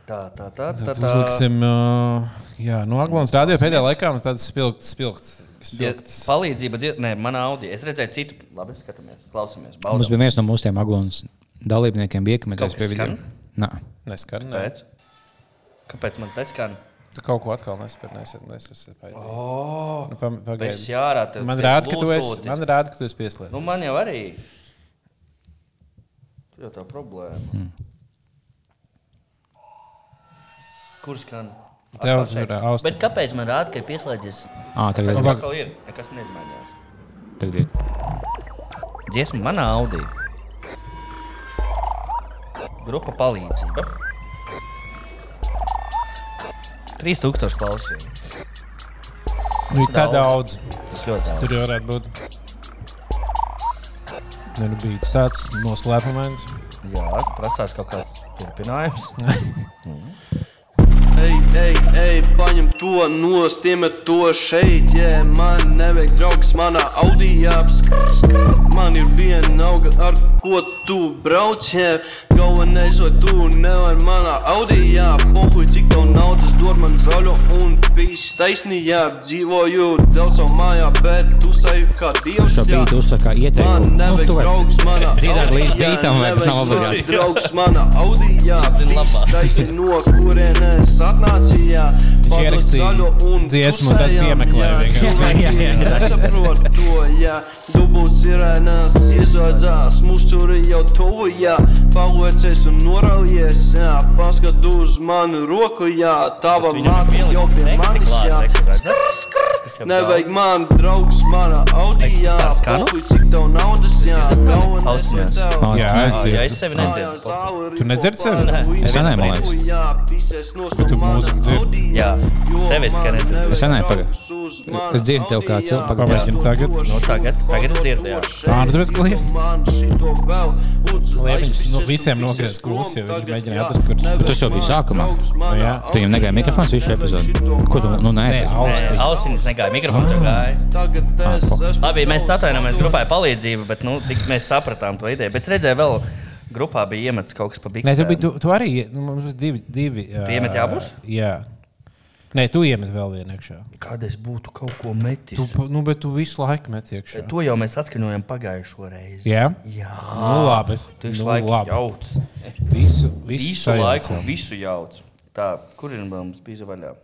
Tā, tā, tā, tā.
Tad
tā.
uzliksim, uh, jā, no Aglons radio pēdējā laikā mums tāds spilgts, spilgts,
Ja
spilgts.
Palīdzība, dzir- nē, manā audio. Es redzēju, citu. Labi, skatāmies,
Mums
klausamies. Baudām.
bija viens no mūsu tiem aglūnas dalībniekiem, bija iekomentējis
Kaut
pie
kas
video.
skan?
Nā.
Neskan. Ne.
Kāpēc? Kāpēc man tas skan?
Tu kaut ko atkal nesaprati. Oh, nu, pam- pagaidi.
Pēc jārā tev.
man
tie
rāda, ka tu esi,
Bluetoothi.
man rāda, ka tu esi pieslēgts.
Nu, man jau arī. Tur jau tā problēma. Hmm. Kur skan?
Tev
Atkal šeit.
tur, ā, austiņa.
Bet kāpēc man rāda, ka ir pieslēdzies?
Ā, tagad,
Kāpēc
tagad,
man atkal ir? Nekas neizmainījās.
tagad ir.
Dziesma manā audī. Grupa palīdzība. 3000 klausījumu.
ir tā Nu, daudz.
Tas ļoti daudz.
Tur jau varētu būt. Ne, Nu, bija tāds noslēpumains.
Jā, prasās kaut kāds turpinājums.
Ej, ej, ej, paņem to nost, iemet to šeit, jē, yeah, man nevajag draugs manā Audi apskats. Man ir viena auga, ar ko tu brauc, jē, yeah. galvenais, vai tu nevar manā Audi, jā, pohuj, cik tev naudas dod man zaļo un pīs taisnījā, dzīvoju daudz savu mājā, bet tu saju kā dievs,
Šo
jā.
beidu uzsver kā
Man
ieteikumu. Nu,
nevajag
tu vari
draugs manā
dziedāt
Audi,
līdz
jā,
beitam, vai pat nav
nevajag
obligāti.
man Draugs manā Audi, jā,
Zini labāk.
pīs taisni no kurienes atnācījā.
Viņš ierakstīja dziesmu un tad piemeklē vienkārši.
Nesaprotu to, jā, dubult sirēnās iezvadzās, mūs tur ir jau tuvu, jā, palicies un noralies, jā, paskat uz manu roku, jā, tava
Viņam ir
māte
pielikt
jau pie
teksti
manis,
klāt,
jā.
re, kur redzat? Tas jau
Nevajag
daudz.
man draugs, mana Audi,
Es
jā,
tā skanu?
pohuj, cik tev naudas, jā,
dzirdat mani?
galvenais ir
Ausinās.
tev.
Ausinās.
Jā,
Nē,
es
Ā, Jā, es
dzirdu.
sevi nedzirdu.
Tu nedzirdi sevi?
Es senai, man liekas.
Bet
Bet tu mūziku dzirdi?
Jā, sevi es tikai nedzirdu.
Es senai, paga.
uz
Es
mani.
dzirdu tev kā cilvēku-
Pamēģini tagad. nu
Nu, tagad- tagad es dzirdu, jā.
Ārdus klīp. Liepiņš, nu, visiem nogriez klusi, jo viņš mēģināja atrast, kur-
Bet tas jau bija sākumā.
Nu,
jā.
Tu viņam negāja mikrofons visu epizodi. Ko tu, nu, nē,
Nē,
tas-
austiņas.
Austiņas negāja, mikrofons jau gāja.
Tagad es esmu
Labi, mēs
daudz
atvainojamies
atdodu.
grupai palīdzību, bet nu, tik mēs sapratām to ideju. Bet es redzēju, vēl grupā bija iemetis kaut kas pa biksēm.
Nē, tu, biji- tu, tu arī. Nu, mums bija divi. divi uh,
iemeti abus?
Jā. Nē, tu iemet vēl vienu iekšā.
Kad es būtu kaut ko metis.
Tu, pa- nu, bet tu visu laiku meti iekšā.
To jau mēs atskaņojam pagājušo reizi.
Jā,
Jā.
nu, labi.
Tu visu
nu,
nu, laiku
labi.
jauc.
Visu, visu,
Visu
sajaucam.
laiku, visu jauc. Tā, kur ir mums bija vaļā?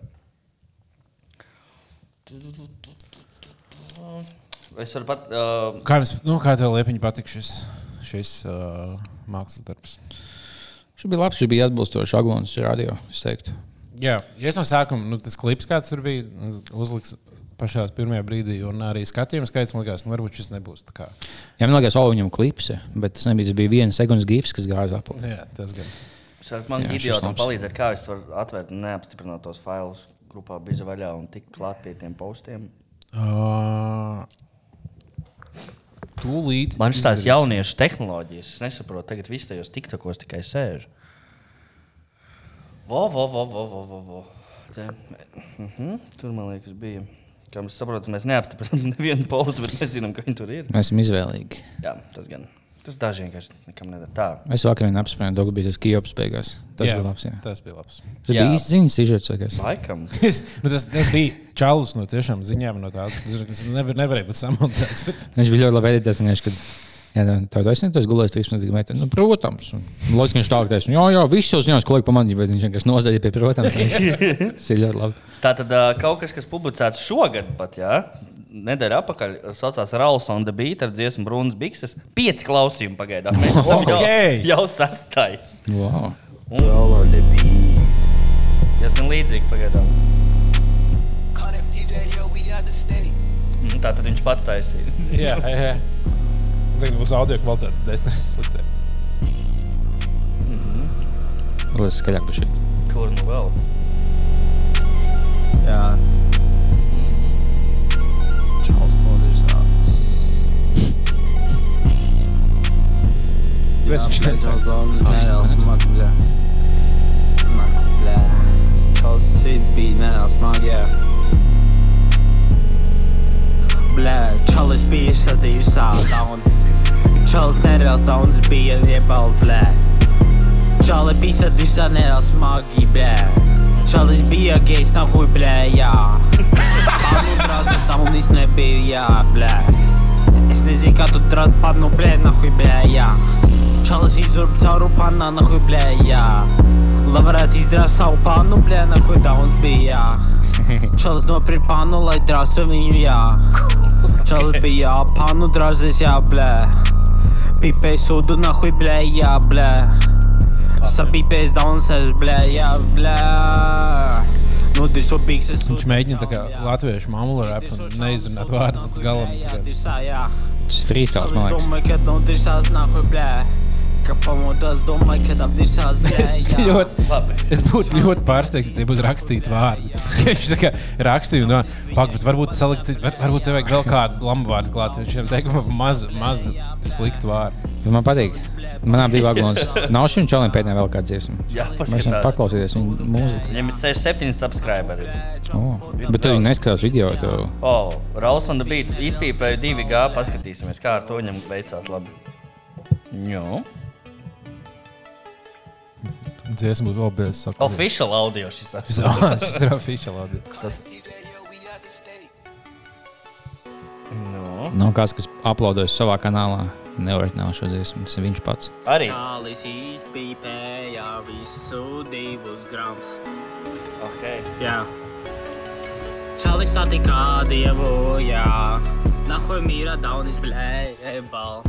Es varu pat. Uh,
Kā, jums, nu, kā tev liepiņš patīk šis, šis uh, mākslas darbs?
Šis bija labs, šis bija atbilstošs aglons radio, es teiktu.
Jā, ja es no sākuma nu, tas klips, kāds tur bija, nu, uzliks pašā pirmajā brīdī, un arī skatījuma skaits man liekas, nu, varbūt šis nebūs tā kā.
Jā, man liekas, Olu viņam klipse, bet tas nebija, tas bija viens sekundes gifs, kas gāja uz apakšu.
nu, Jā, tas gan.
Sākt man
Jā, šis
idiotam
labs.
palīdzēt, kā es varu atvērt neapstiprinātos failus grupā bija vaļā un tikt klāt pie tiem postiem.
Uh, Tūlīt.
Man šīs tās
izdarīs.
jauniešu tehnoloģijas, es nesaprotu, tagad viss tajos tiktokos tikai sēž. Vo, vo, vo, vo, vo, vo, vo. Te, mhm, tur man liekas, bija. Kā mēs saprotam, mēs neapstiprinām nevienu pauzi, bet mēs zinām, ka viņi tur ir.
Mēs esam izvēlīgi.
Jā, tas gan. Tur daži vienkārši nekam nedara. Tā.
Es vakar vienā apspriedu, kur bija tas Kijops beigās. Tas jā. bija labs. Jā.
Tas bija labs.
Tas bija
Jā.
īsts ziņas, izžēlojams.
Laikam.
Es, nu tas, tas bija čalus no tiešām ziņām, no tādas es nevar, nevarēja būt samontēts. Bet...
Viņš bija ļoti labi editēts. Viņš kad jā, tā- tā taisnība, tas gulēs, tas bija meitene. Nu, protams, un loģiski viņš tā teica. Jā, jā, viss jau zinās, ko laik pamanīja, bet viņš vienkārši nozaļīja pie protams. un Tas ir ļoti labi.
Tā tad kaut kas, kas publicēts šogad, pat jā, nedēļa atpakaļ, saucās Rauls on the Beat ar dziesmu Brunas Bikses. Pieci klausījumi pagaidām. Mēs esam
Okei.
Jau, jau sastais.
Wow.
Tas gan līdzīgi pagaidām. Mm, Tā tad viņš pats taisīja.
Jā, jā. Tagad būs audio kvalitāte, tas ir slikti.
Tas ir skaļāk par šī.
Kur nu vēl?
Jā. Čals novirzās.
Es viņš nesaka.
Nereāls smagi, bļā. Smagi, bļā. Čals strīds bija nereāls smagi, jā. Bļā, čalis bija sadījis savu daunu. Čals nereāls dauns bija iebal, bļā. Čali bija sadījis savu nereāls smagi, bļā. Čalis bija gejs, nahuj, bļā, jā. Anubrās daunis nebija, jā, bļā. Es nezinu, kā tu trād pannu, blē, nahuj, blē, jā. Čalas izurb cauru panna, nahuj, blē, jā. Labvarētu izdarīt savu pannu, blē, nahuj, dauns bija, jā. Čalas nopirkt pannu, lai drāstu viņu, jā. Čalas bija, jā, pannu drāzes, jā, blē. Pipei sudu, nahuj, blē, jā, blē. Sapipēs daunsēs, blē, jā, blē. Nudris upīgs, es
Viņš mēģina tā kā latviešu mamulu rapu un neizrunāt vārdus līdz galam.
Jā,
tā kā.
tirsā, jā.
Tas ir freestyle, man
Es
liekas.
domāju, ka nu, tam tirsās nākamajā blē. Kā pamodos, domāju, ka tam tirsās blē.
Es ļoti, es būtu ļoti pārsteigts, ja te būtu rakstīts vārdi. Viņš tā kā rakstīja, un pagaidi, bet varbūt salikt, cit- var- varbūt tev vajag vēl kādu lambu vārdu klāt. Viņš šiem teikumam maz, maz sliktu vārdu.
Man patīk. Manā divi aglons. Nav šim čalim pēdējā vēl kāda dziesma.
Jā,
Mēs varam
paskatās.
paklausīties viņa mūziku.
Viņam ir 67 subscriberi.
Oh. Bet tu viņu neskatās video. Tu...
O, oh, Rauls un bija izpīpēju 2G. Paskatīsimies, kā ar to viņam veicās labi. Jo.
Dziesma būtu obēs.
Oficiāli audio šis esmu.
Šis ir oficiāli.
Nu.
Nav kāds, kas aplaudojas savā kanālā. Neoriģināli šo dziesmu. Tas ir viņš pats.
Arī.
Čālis izpīpēja visu divus grams.
Okay.
Jā. Čālis satikā dievu, jā. Nahoj mīra daunis blē, ebal.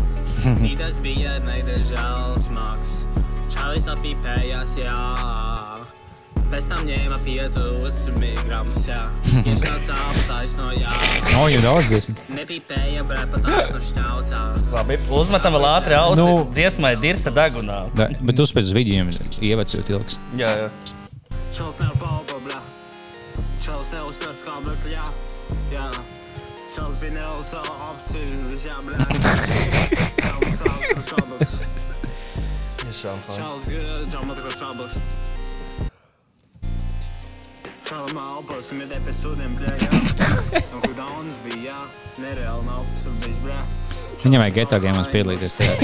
Mīdas bija nedežēls maks. Čālis apīpējās, jā. Pēc tam ņēma piecus miligramus, jā. Iesāca aptaisno, jā.
Nav jau daudz dziesmu.
Nepīpēja blē, pat tādu štaucā.
Labi, uzmetam vēl ātri ausi. Nu.
Nu.
Dziesmai dirsa dagunā.
Da, bet uzspēlēt uz video ievācot ilgs.
Jā, jā.
Čels nevar palpo, blē. Čels tev uzsver skābekļā. jā. Čels bija nereāls apziņas, jā, blēņas.
Tiešām fajn.
Čels džama tā kā sablas. Čela malpos, midē pēc sūdiem, blē, jā. Un kur daunas bija, jā, nereāli malpos un bijis, blē.
Viņam vajag geto gēmas piedalīties tajā.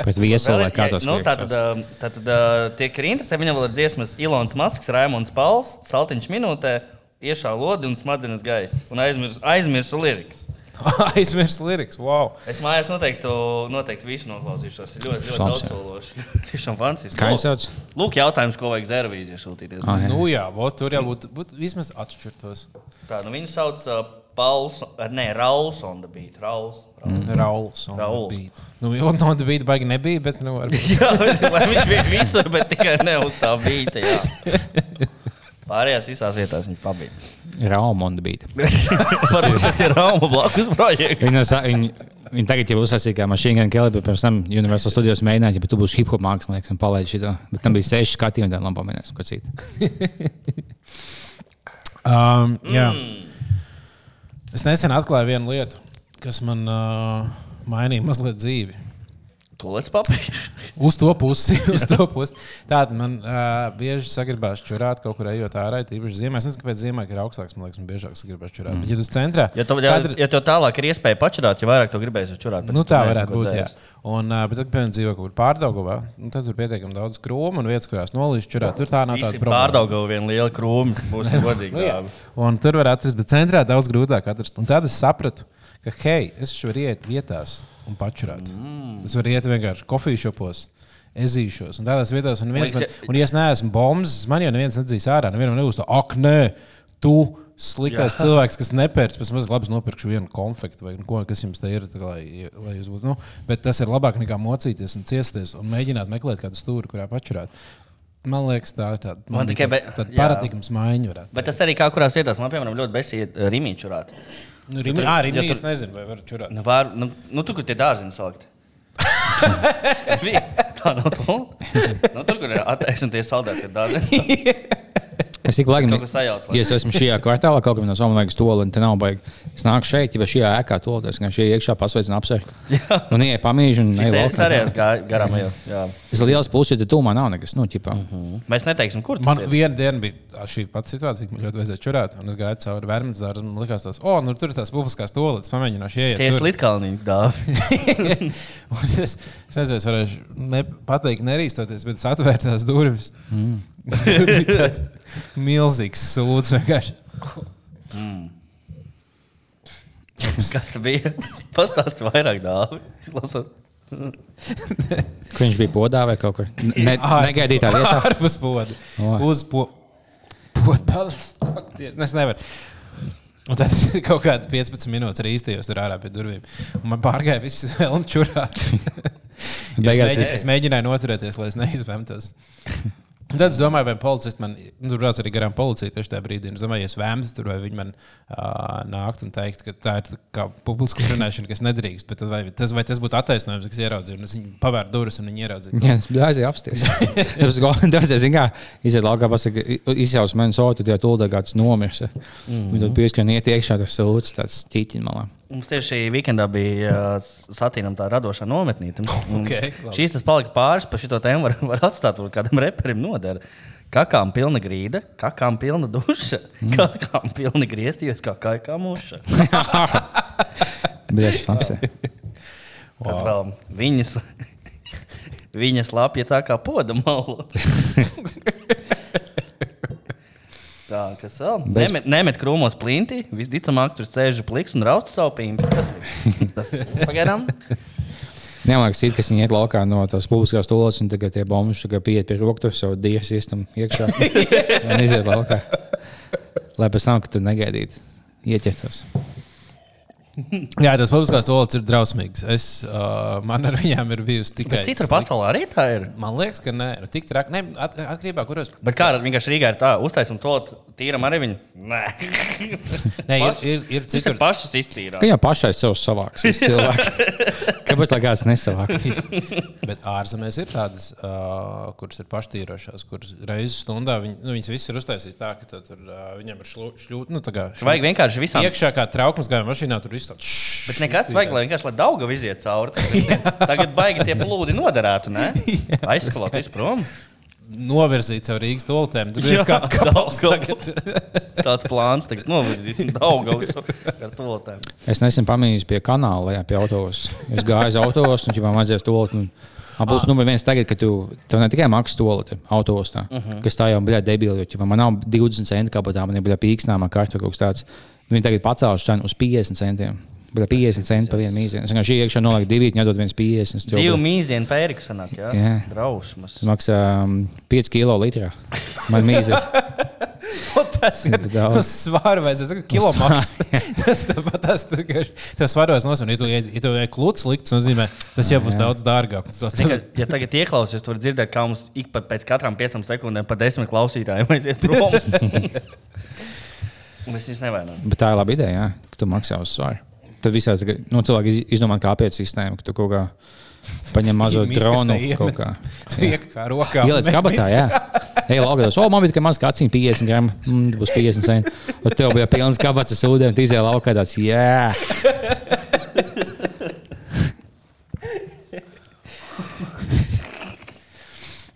Pēc viesolu, lai kā tos
nu, tā tad, um, tā tad uh, tie, kas ir interesēti, viņam vēl ir dziesmas Ilons Masks, Raimons Pauls, Saltiņš minūtē, iešā lodi un smadzenes gaisa. Un aizmirsu, aizmirsu lirikas.
Aizmirst liriks, wow.
Es mājās noteikti, noteikti visu noklausīšos. Ir ļoti, ļoti
Labs,
daudz sološi. Tiešām fancies.
Kā viņš sauc?
Lūk, jautājums, ko vajag zērvīzijā sūtīties.
Ah, jā.
Nu jā, vot, tur jābūt būt, vismaz atšķirtos.
Tā, nu viņu sauc uh, Pauls, ar- nē, Rauls on the beat. Rauls.
Mm.
Rauls.
Rauls. on the
Rauls.
beat. Nu, jau no tā bija baigi nebija, bet nu, varbūt.
Jā, lai viņš bija visur, bet tikai ne uz tā beata. jā. Pārējās visās vietās viņš pabija.
Raumonda bija.
Varbūt tas ir Rāmas blakus projekts.
Viņa, sa- viņa, viņa tagad jau uzsāsīja, ka Machine Gun Kelly, bet pirms tam Universal Studios mēģināja, ja tu būsi hip hop mākslinieks un palaidi šito. Bet tam bija seši skatījumi, tad labi pamēnēsim, ko citu.
Um, jā.
Mm.
Es nesen atklāju vienu lietu, kas man uh, mainīja mazliet dzīvi.
Tolēts papīrs.
Uz to pusi, uz to pusi. Tātad man uh, bieži sagribās čurāt kaut kur ejot ārā, tīpaši ziemā. Es nezinu, kāpēc ziemā ir augstāks, man liekas, un biežāk sagribās čurāt. Mm. Bet, ja tu esi centrā,
Ja tev, ja,
kadri-
ja tev tālāk ir iespēja pačurāt, jo vairāk tu gribēsi čurāt. bet
Nu,
tu
tā
nezini,
varētu
ko
būt. Jā.
dzēst.
Un, uh, bet, tad, piemēram, dzīvo kaut kur pārdagā, nu, tad tur pietiekami daudz krūmu un vietas, kurās nolīst čurāt. Tur tā nav tāda
Visi
problēma. Nu,
pārdaugā viena liela krūma. Būsim godīgi.
Jā.
dāvi.
Un tur var atrast, bet centrā daudz grūtāk atrast. Un tad es sapratu, ka, hei, es šo varu iet vietās un pačurāt. Mm. Es varu iet vienkārši kofiju šopos. Ezīšos, un tādās vietās, un, viens
Liekas,
man,
ja-
un ja es neesmu bombs, man jau neviens nedzīs ārā. Nevienam nebūs tā, ak, nē, tu sliktais Jā. cilvēks, kas nepērc. Pēc mazliet labs nopirkšu vienu konfektu vai nu ko, kas jums te ir, tā, lai, lai jūs būtu. Nu, bet tas ir labāk nekā mocīties un ciesties un mēģināt meklēt kādu stūri, kurā pačurāt. Man liekas, tā ir tāda.
Man tikai be-
tāda
jā.
paradigmas maiņa varētu.
Bet tas arī kā kurās vietās man, piemēram, ļoti besīja rīmiņu čurāt.
Nu, rimni, jā, rimni,
ja
ja
tur-
es nezinu, vai varu čurāt.
Nu, var, nu, nu tu, kur tie dārziņi salikt? Es tev biju. tā nav tā. Nu, tur, kur ir attēlot tie saldēti dārziņi,
Es tikai laikam,
kaut ko sajaucu,
ja es esmu šajā kvartālā, kaut kādā somā vajag stoli, un te nav baigi. Es nāku šeit, ja šajā ēkā tolēties, gan šajā iekšā pasveicinu apsēžu. Un ieeju pamīžu un eju
tad es arī
laukā.
esmu gā- garām. ejot, jā.
Tas ir liels pluss, jo te tūmā nav nekas, nu, ķipā.
Mēs neteiksim, kur tas
Man
ir.
vienā dienā bija tā- šī pati situācija, kad man ļoti vajadzēja čurāt. Un es gāju cauri vērmēs dārzam, un man likās, tas, oh, nu, tur ir tās publiskās toaletes, pamēģināšu ieiet.
Tie ir
tur."
slitkalniņi. dāvi.
Un es, es nezinu, es varēšu ne, pateikt, nerīstoties, bet es atvēru tās durvis. Mm. tur bija tāds milzīgs sūds vienkārši.
Kas tas bija? Pastāsti vairāk, dāvā.
Kur viņš bija podā vai kaut kur. Ne,
Ārpus-
negaidītā vietā.
Ārpus poda.
Oi.
Uz po- poda. Ak, Dievs, nu Es nevaru. Un tad kaut kāda 15 minūtes arī īstenībā tur ārā pie durvīm. Un Man pārgāja viss vēlams čurā.
Beigās
Beigās es, mēģināju, es mēģināju noturēties, lai es neizvemtos. Un Tad es domāju, vai policists man, nu, tur brauc arī garām policija tieši tajā brīdī. Un Es domāju, ja es vēmstu tur, vai viņi man uh, nākt un teikt, ka tā ir tā kā publiska runāšana, kas nedrīkst. Bet tad vai tas, vai tas būtu attaisnojums, kas ieraudzīja, un es viņu pavēru durvis un viņi ieraudzīja.
Jā, es aizēju apstāties. Tāpēc gala beigās izjāja laukā, pasaka, izjāja mani soli, tad jau tūlīt gāds nomirs. Viņu tur pieskan iet iekšā, tas sūds, tāds tīķiņš malā.
Mums tieši weekendā bija uh, satīnām tā radošā nometnīte.
Ok, labi.
Šīs tas palika pāris, pa šito tēmu var, var atstāt, varbūt kādam reperim noder. Kakām pilna grīda, kakām pilna duša, mm. kakām pilna griezties, kā kā muša.
Bet es esmu
Tad vēl viņas, viņas lapja tā kā poda malu. Tā, kas vēl?
Bez-
Nemet, nemet krūmos plintī. Visticamāk, tur sēž pliks un rauc savu pīnu. Tas ir. Tas ir. Pagaidām.
Nelaiks cits, kas viņa iet laukā no tās publiskās stūles, un tagad tie bombuļi tagad pieiet pie rokas, jau dievs iestam iekšā. un iziet laukā. Lai pēc tam, kad tu negaidītu, ieķertos.
Jā, tas publiskās toalets ir drausmīgs. Es, uh, man ar viņiem ir bijusi tikai.
Bet citur pasaulē arī tā ir.
Man liekas, ka nē, ir tik traki. Nē, at, atkarībā no kuras.
Bet kā ar- vienkārši Rīgā ir tā, uztaisim to tīram arī viņu? Nē,
Nē, ir, ir, ir
tas ir
citur.
pašas iztīrā.
Kā jau pašai sev savāks, viņš cilvēks. Kāpēc tā kāds nesavāk?
Bet ārzemēs ir tādas, uh, kuras ir paštīrošās, kuras reizes stundā viņi, nu, viņas visas ir uztaisītas tā, ka tad tur, uh, viņiem ir šļūta. Nu, tā kā šļūt-
Vajag vienkārši visam.
iekšā kā trauksmes gājuma mašīnā, tur viss tāds.
Bet nekas vajag, lai vienkārši daudz iziet cauri. Tagad, tagad baigi tie plūdi noderētu, ne? Aizskalot visprom.
Novirzīt savu Rīgas toaletēm. Tur ir kāds kapels. tagad.
Tāds plāns tagad novirzīsim daudz ar to tēmu.
Es nesen pamanīju pie kanāla, jā, pie autobusa. Es gāju uz autobusu, un viņam vajadzēja stūlīt. Būs numur viens tagad, ka tu tev ne tikai maksā stūlīt autobusā, uh -huh. kas tā jau bija debila, jo ķipā, man nav 20 centi kabatā, man ir bija pīksnāmā kārta kaut kas tāds. Nu, Viņi tagad pacēluši cenu uz 50 centiem. Bet 50 centi par vienu mīzienu. Es vienkārši iekšā nolieku divi, nedod viens 50. es tev
Divi
biju-
mīzieni pērku sanāk, jā?
Jā.
Drausmas.
Tas maksā um, 5 kilo litrā. Man mīzē.
O, Tas ir
Daudz. Nu,
uz svāru vajadzēja kilograms. Tas tāpat tas ir. Tas svarīgākais nosaucums, ja tu ej- ja tev ir klūts likts, nozīmē, tas jau būs daudz dārgāk. Tas
Zini, ka, Ja tagad ieklausās, tad var dzirdēt, kā mums ik pa- pēc katrām piecām sekundēm pa desmit klausītājiem aiziet prom. Un Mēs viņus nevainojam.
Bet tā ir laba ideja, jā, ka tu maksā uz svaru. Tad visās tagad- nu, cilvēki iz- izdomā, kā apiet sistēmu, ka tu kaut kā paņem mazo dronu. kaut kā.
Iekā kā rokā.
Ieliec
met
kabatā,
visu.
jā. Ej, logos. O, man bija tikai mazs kāciņš, 50 gramu. Mm, būs 50 centi. Un tev bija pilns kabats ar ūdeni, tu izēji laukā tāds, jā.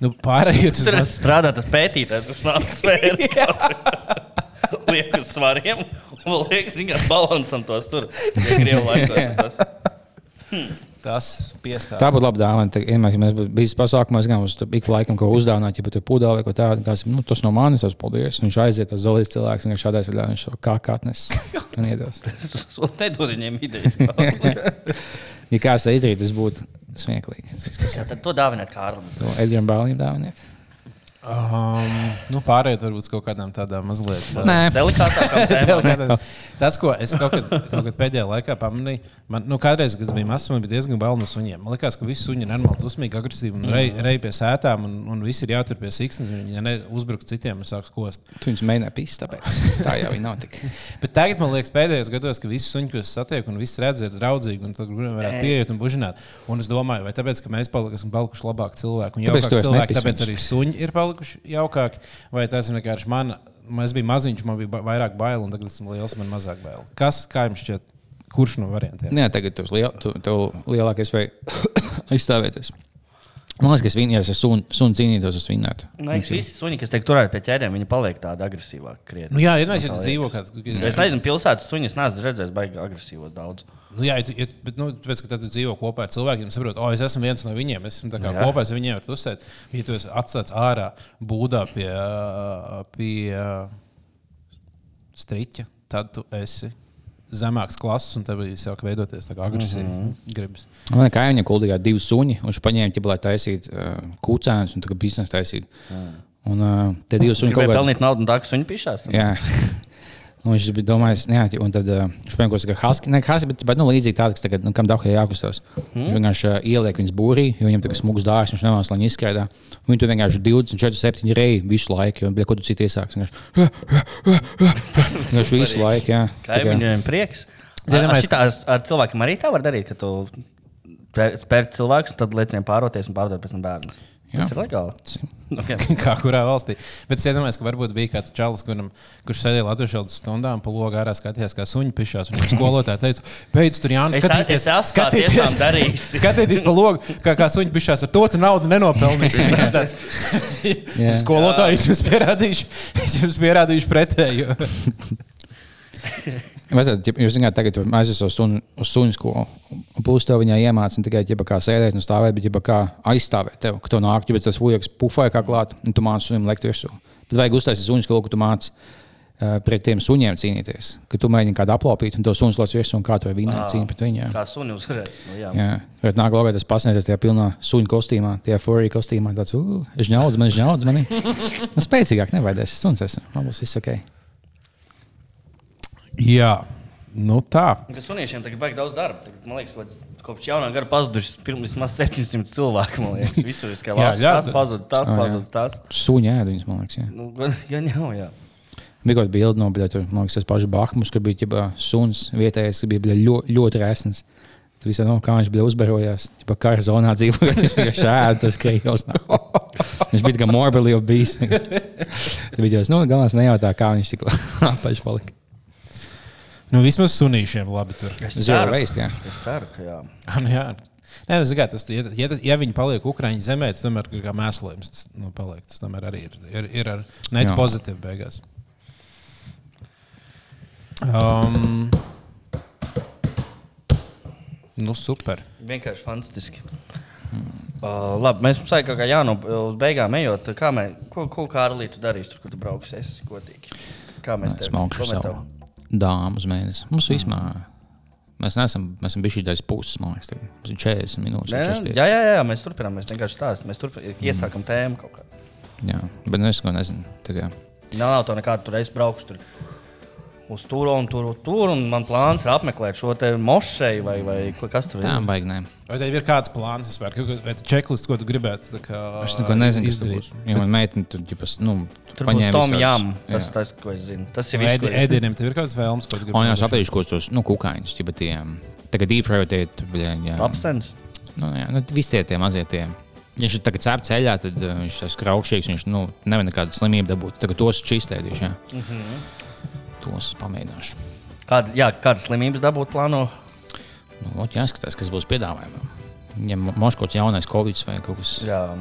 Nu, pārējot uz
Tur
maz-
strādā tas pētītājs, kurš nāk svērts. Liek uz svariem, un vēl liek, zini, kā balansam tos tur. Ja grievu laikos tas.
tas piestāv.
Tā būtu laba dāvana. Tā, vienmēr, ja mēs būtu bijusi pasākumā, es gan uz to ik laikam ko uzdāvinātu, ja pat ir pudeli vai ko tādu. Kāds, nu, tas no manis, tas paldies. Un Viņš aiziet, tas zolīts cilvēks, un viņš šādais vēl viņš to kā katnes. Un iedos.
Un nedod viņiem idejas. kā.
Ja kāds to izdarītu, tas būtu smieklīgi. Es visu, kas
Jā, Tad to dāvināt Kārlim.
To Edgars Bālim dāviniet.
Um, nu, pārējot varbūt uz kaut kādām tādām mazliet. uh,
Nē.
Delikātākam tēmam.
Delikātām. Tas, ko es kaut kad, kaut kad pēdējā laikā pamanīju, man nu, kādreiz, kad es biju mazs, man bija diezgan bail no suņiem. Man liekas, ka visi suņi ir normāli dusmīgi, agresīvi un rei, rei pie sētām, un, un visi ir jātur pie siksnas. un Viņi ja ne uzbruk citiem un sāks kost.
Tu viņus mēģināji pīst, tāpēc tā jau viņa nav tik.
Bet tagad man liekas, pēdējos gados, ka visi suņi, ko es satieku, un viss redz, ir draudzīgi, un tur varētu pieiet un bužināt. Un es domāju, vai tāpēc, ka mēs pali- esam palikuši labāki cilvēki un
Tāpēc tu
jaukāki
vairs
cilvēki,
nepisi
tāpēc
viņus.
arī suņi ir palikuši jaukāki, vai tas ir vienkārši man, es biju maziņš, man bija ba- vairāk bail, un tagad esmu liels, man mazāk bail. Kas, kā jums šķiet, kurš no variantiem?
Nē, Nu tagad tev liel, tu, tev lielākais vai aizstāvēties. Man liekas, ka es viņu, ja es ar sunu sun cīnītos, es vinnētu.
Man liekas, Nu, visi suņi, kas tiek turēti pie ķēdēm, viņi paliek tādi agresīvāki. krietni.
Nu, jā, ja neesat dzīvo
Es
kādā.
nezinu, pilsētas suņus neesmu redzējis, baigi agresīvos daudz.
Nu, jā, ja tu, ja, tu- bet, nu, tāpēc, ka tad tu dzīvo kopā ar cilvēkiem, saproti, o, es esmu viens no viņiem, es esmu tā kā
Jā.
kopā ar viņiem, var tusēt. Ja tu esi atstāts ārā būdā pie, ā, pie ā, striķa, tad tu esi zemāks klases un tev ir sāk veidoties tā kā agresīvi
Mhm.
mm -hmm. gribas.
Man kā viņam kuldīgā divi suņi, un viņš paņēma ķibu, lai taisītu uh, kūcēnus un tā kā biznesa taisītu. Un uh, te divi suņi
Gribēju
kaut kādā.
pelnīt naudu un tā, ka suņi pišās.
Jā. Un viņš bija domājis, ne, un tad uh, viņš vienkārši tā kā haski, ne haski, bet, bet nu, līdzīgi tāds, kas tagad, nu, kam dahā jākustās. Mm. Viņš vienkārši uh, ieliek viņas būrī, jo viņam tagad smūgs dārsts, viņš nevēlas, lai viņi izskrēdā. Viņi tur vienkārši 24, 7 reizes visu laiku, jo, bet, ko tu citu iesāks. Vienkārši, vienkārši visu laiku, jā. Tā kā-
Kaimiņiem prieks.
Es
Ar, ar,
iedomājos,
šitās, ar cilvēkiem arī tā var darīt, ka tu pēr- spēr cilvēkus, un tad liec viņiem pāroties un pārdot pēc tam bērnus.
Jā.
Tas ir legāli. Nu, Okay.
Kā kurā valstī. Bet es iedomājos, ka varbūt bija kāds čalis, kuram, kurš sēdēja Latvijas stundām, pa logu ārā skatījās, kā suņi pišās. Un viņam skolotāja teica, beidz tur Jānis,
Es- es esmu tā tiešām darījis.
skatieties pa logu, kā, kā suņi pišās ar to tu naudu nenopelnīs. Viņam tāds,
Jā.
Skolotāji, es jums pierādīšu, es jums pierādīšu pretēju.
Vajadzētu, ja jūs zināt, tagad mēs esam uz sunu, uz sunu skolu. Un Plus tev viņai iemācīja ne tikai ģipa, kā sēdēt un stāvēt, bet arī kā aizstāvēt tevi. Kad tev nāk, ja tas vujaks pufai kā klāt, un tu māci sunim lekt virsū. Bet vajag uztaisīt sunu skolu, ka tu māci eh, pret tiem suniem cīnīties. Kad tu mēģini kādu aplaupīt, un to suns lēs virsū, un kā to viņa cīnīties pret viņiem.
Kā suni uzvarēja. Nu, jā.
Jā, bet nāk, logā tas pasniedzis tajā pilnā suņa kostīmā, tajā forī kostīmā. Tāds, uh, žņaudz man, žņaudz man. Nu, spēcīgāk nevajadzēs, suns esmu. Man būs viss ok.
Jā, Nu, tā.
Kad sunīšiem tagad baigi daudz darba, tagad, man liekas, kaut, kopš jaunā gada pazudušas pirms maz 700 cilvēku. Man liekas, visur ir kā
Jā,
lāsts.
jā.
Tas pazudis, tas
jā.
pazudis, tas.
Sūņā ēd viņas, man liekas. Jā.
Nu, gan gan jau, jā.
Bija kaut kāda bilde no bija, tur, man liekas, tas pašs Bahmus, kur bija ģipa, suns vietējais, kas bija ļoti, ļoti resns. Tas viss no kā viņš bija uzbarojās. Ģipa, kā ar zonā dzīvoja, viņš bija šādi, tas krējos. Viņš bija kā morbidly obese. Tad bija jau, nu, galvenais nejautā, kā viņš tik apaļš palika.
Nu, vismaz sunīšiem labi tur.
Es
Zero
ceru,
waste, jā.
es ceru, ka jā.
Nu, jā. Nē, nu, zikā, tas, ja, ja, ja viņi paliek Ukrāņu zemē, tad tomēr ir kā mēslojums. Tas, nu, paliek, tas tomēr arī ir, ir, ir ar net
Jā.
pozitīvu beigās. Um, nu, super.
Vienkārši fantastiski. Uh, labi, mēs mums sākām, ka Jānu uz beigām ejot. Kā mēs, ko, ko Kārlī tu darīsi, tur, kur tu brauksi? Es esmu godīgi. Kā mēs
Es
tev
mākšu
ko mēs
savu
tev-
dāmu uz mēnesi. Mums vismaz. Mēs neesam, mēs esam bijuši daļas puses, man liekas, tagad. Mums ir 40 minūtes.
Nē,
45.
Jā, jā, jā, mēs turpinām. Mēs vienkārši stāstām. Mēs turpinām, iesākam tēmu kaut kādā.
jā. Bet nu, es ko nezinu. Tā kā.
Nav, nav tā nekāda tur, es braukšu tur. Uz tur un tur, un tur, un man plāns ir apmeklēt šo te mošeju, vai, vai ko- kas tur
Tā,
ir.
baigi, nē.
Vai tev ir kāds plāns vispār? Kaut kāds- Vai tas checklists, ko tu gribētu? tā Kā,
Es neko nezinu, kas tur
izdarīt?
būs. Ja man meitene tur ģipas, nu,
Tur būs
paņēma
Tom
visādus-
Jam. Tas,
Jā.
tas, ko es zinu. Tas ir
Vai
viss.
Edi,
ko es-
Edinam, tev ir kāds vēlms, ko tu
Un jau
gribētu?
sapratu, ko tos nu, kukaiņus, ja tiem tagad dīfrajotē, jā.
Absents.
Nu, jā, nu, visi tie, tie mazie tie. Ja Viņš ir tagad cēp ceļā, tad uh, viņš tas kraukšīgs, viņš nu, nevar nekādu slimību dabūt. Tagad tos čistēdīšu, jā.
Mhm.
Tos pamēģināšu.
Kāda, jā, kādas slimības dabūt plāno?
Nu, ot, jāskatās, kas būs piedāvājumā. Ja mo- mož kaut kāds jaunais covid vai kaut kas.
Jā,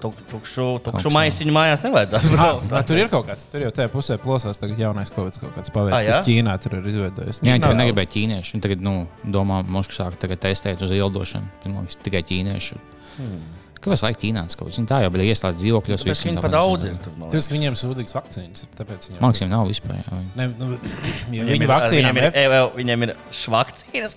tuk, tukšu, tukšu
Augstu.
maisiņu mājās nevajadzētu.
Ah,
braukt.
nā, tur ir kaut kāds, tur jau tajā pusē plosās tagad jaunais kaut kāds, kaut kāds
Ah,
paveids,
jā?
kas Ķīnā tur ir izveidojis.
Jā, viņi
Nav-
tagad negribēja ķīniešu. Viņi tagad, nu, domā, mož, ka sāk tagad testēt uz ildošanu. Tad, man liekas, tikai ķīniešu. Kāpēc laik ķīnāts kaut kas? Viņi tā jau bija ieslēgta dzīvokļos.
Tāpēc
visi,
viņi pa
tāpēc-
daudz ir. tur, man liekas.
Tāpēc, ka viņiem sūdzīgs vakcīnas, ir, tāpēc viņiem.
Mākslinieks nav vispār. Jā.
Ne, nu, ja
Viņiem
viņu
ir-
vakcīnām
viņiem ir,
ir.
ej, vēl, viņiem ir švakcīnas.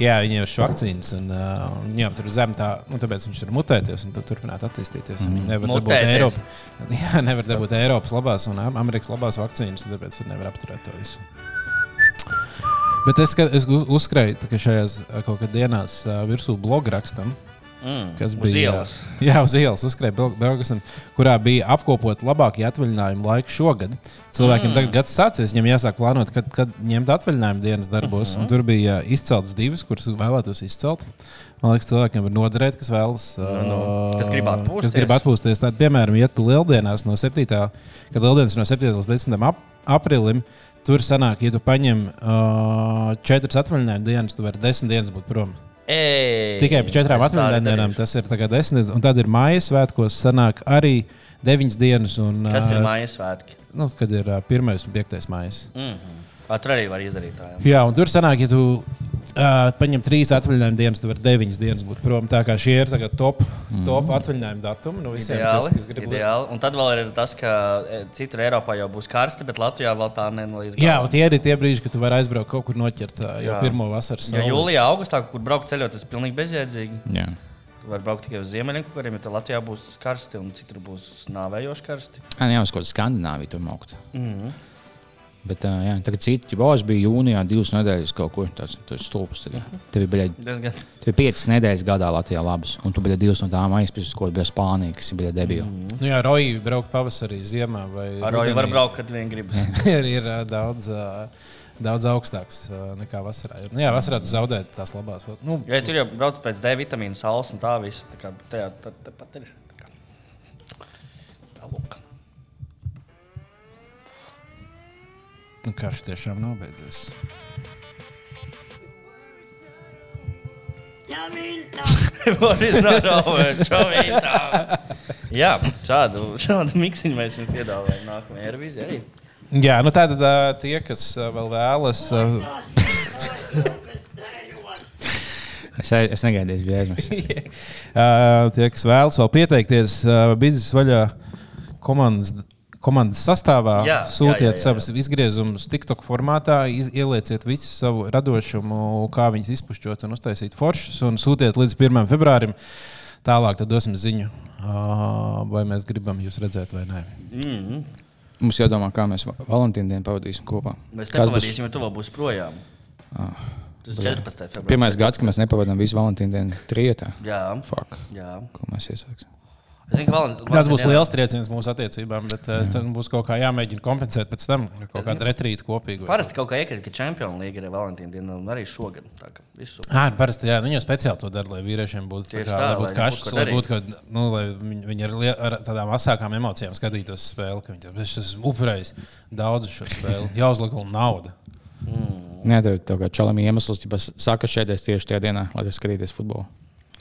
Jā, viņiem ir šis vakcīns. Un, uh, un viņiem tur zem tā, nu, tāpēc viņš ir mutēties un tad turpināt attīstīties. Mm. Viņi nevar dabūt,
Mutēties.
Eiropa, jā, nevar dabūt Eiropas labās un Am- Amerikas labās vakcīnas, un tāpēc viņi nevar apturēt to visu. Bet es, ka- es uz- uzskrēju, tā ka šajās ā, kaut kādā dienās ā, virsū blogu rakstam,
Mm,
kas
uz
bija
ielas.
Jā, uz ielas uzkrāja Belgāzam, kurā bija apkopot labākie atvaļinājumi laiku šogad. Cilvēkiem mm. tagad gads sācies, viņiem jāsāk plānot, kad, kad ņemt atvaļinājumu dienas darbos.
Mhm.
Mm -hmm. Tur bija ā, izceltas divas, kuras vēlētos izcelt. Man liekas, cilvēkiem var noderēt, kas vēlas.
nu, kas grib
ā,
atpūsties.
Kas grib atpūsties. Tad, piemēram, ja tu lieldienās no 7. kad lieldienas ir no 7. līdz 10. Ap, aprilim. Tur sanāk, ja tu paņem uh, četras atvaļinājuma dienas, tu vari desmit dienas būt prom.
Ej,
Tikai par četrām
es tā arī
atvaļinājuma dienām
darīšu.
tas ir tagad desmit. Un tad ir mājas svētkos, sanāk arī deviņas dienas. Un,
Kas ir
ā,
mājas svētki? Mhm.
Nu, kad ir ā, pirmais un piektais mājas.
Ā, Tur arī var izdarīt tā. jā.
Jā, un tur sanāk, ja tu uh, paņem trīs atvaļinājuma dienas, tad var deviņas dienas būt prom. Tā kā šie ir tagad top, top atvaļinājuma datumi. Nu, visiem, kas,
Mhm. Ideāli,
kas grib lietot.
ideāli. Un tad vēl ir tas, ka e, citur Eiropā jau būs karsti, bet Latvijā vēl tā nenolīdz.
Jā, un tie ir tie brīži, kad tu vari aizbraukt kaut kur noķert ā, jau
Jā.
pirmo vasaras
Jo
sauli.
jūlijā, augustā, kur braukt ceļot, tas pilnīgi bezjēdzīgi.
Jā.
Tu vari braukt tikai uz ziemeļiem, kuriem ir Latvijā būs karsti un citur būs nāvējoši karsti.
Ā, nu Jā, uz kaut kādas Skandināvijas tur maukt. Mm -hmm. Bet, ā, jā, tagad citi bāzi bija jūnijā, divas nedēļas kaut kur tāds - stulbs. tagad. Tev bija biļa-
Diezgan.
tev bija piecas nedēļas gadā Latvijā labas, un tu biji divas no tām aizpildījis, ko bija Spānija, kas bija debila. Mm -hmm.
Nu, jā, roji braukt pavasarī, ziemā vai
Ar roju var
rudenī.
braukt, kad vien gribas.
ir, ir ā, daudz, ā, daudz augstāks ā, nekā vasarā. Nu, jā, vasarā tu zaudē tās labās. vot- Nu,
Jo ja tur jau brauc pēc D vitamīna, saules un tā visa. Tā kā tajā tā- tāpat ir. Tā kā. Tā lūk.
nu, karš tiešām nav beidzies.
Boris Nārovičs, čovītā. Jā, šādu, šādu miksiņu mēs jums piedāvājam nākamajā Eirovīzijā. arī.
Jā, nu tā tad ā, tie, kas ā, vēl vēlas. eh, ā,
Es, es negaidīju, es biju aizmirsis.
ā, Eh, Tie, kas vēlas vēl pieteikties ā, biznesa vaļā komandas. Komandas sastāvā
Jā, jā, jā,
sūtiet
jā,
savus izgriezumus, TikTok formātā, iz, ielieciet visu savu radošumu, kā viņas izpušķot un uztaisīt foršus, un sūtiet līdz 1. februārim. Tālāk tad dosim ziņu, ā, vai mēs gribam jūs redzēt vai nē.
Mm.
Mums jādomā, kā mēs va- Valentīnu dienu pavadīsim kopā.
Mēs
Kāds būs Ah,
nepavadīsim, jo tu vēl būsi projām. Tas ir 14. februāris.
Pirmais gads, kad mēs nepavadām visu Valentīnu dienu trijotā.
Jā,
Fuck,
jā.
ko mēs iesāksim?
Es zinu, ka Valent-
Tas būs
Valentīna-
liels trieciens mūsu attiecībām, bet eh, es ceru, būs kaut kā jāmēģina kompensēt pēc tam ar kaut kādu retrītu kopīgu.
Parasti kaut kā iekrīt, ka Champions League ir Valentīna diena, un arī šogad. Tā kā visu.
Ā, parasti jā, viņi jau speciāli to dara, lai vīriešiem būtu tā
Tieši
kā, lai
tā, lai
būtu
nebūtu
kašķis,
ko
lai
darīt.
būtu kaut nu, lai viņi, viņi ar, lie- ar tādām asākām emocijām skatītos spēli. ka Viņi tam ir upurējis daudz šo spēli, jāuzliek vēl nauda.
Nē, tev ir kaut kā čalam iemesls, ja saka, šeit tieši tajā dienā, lai tu skatīties futbolu.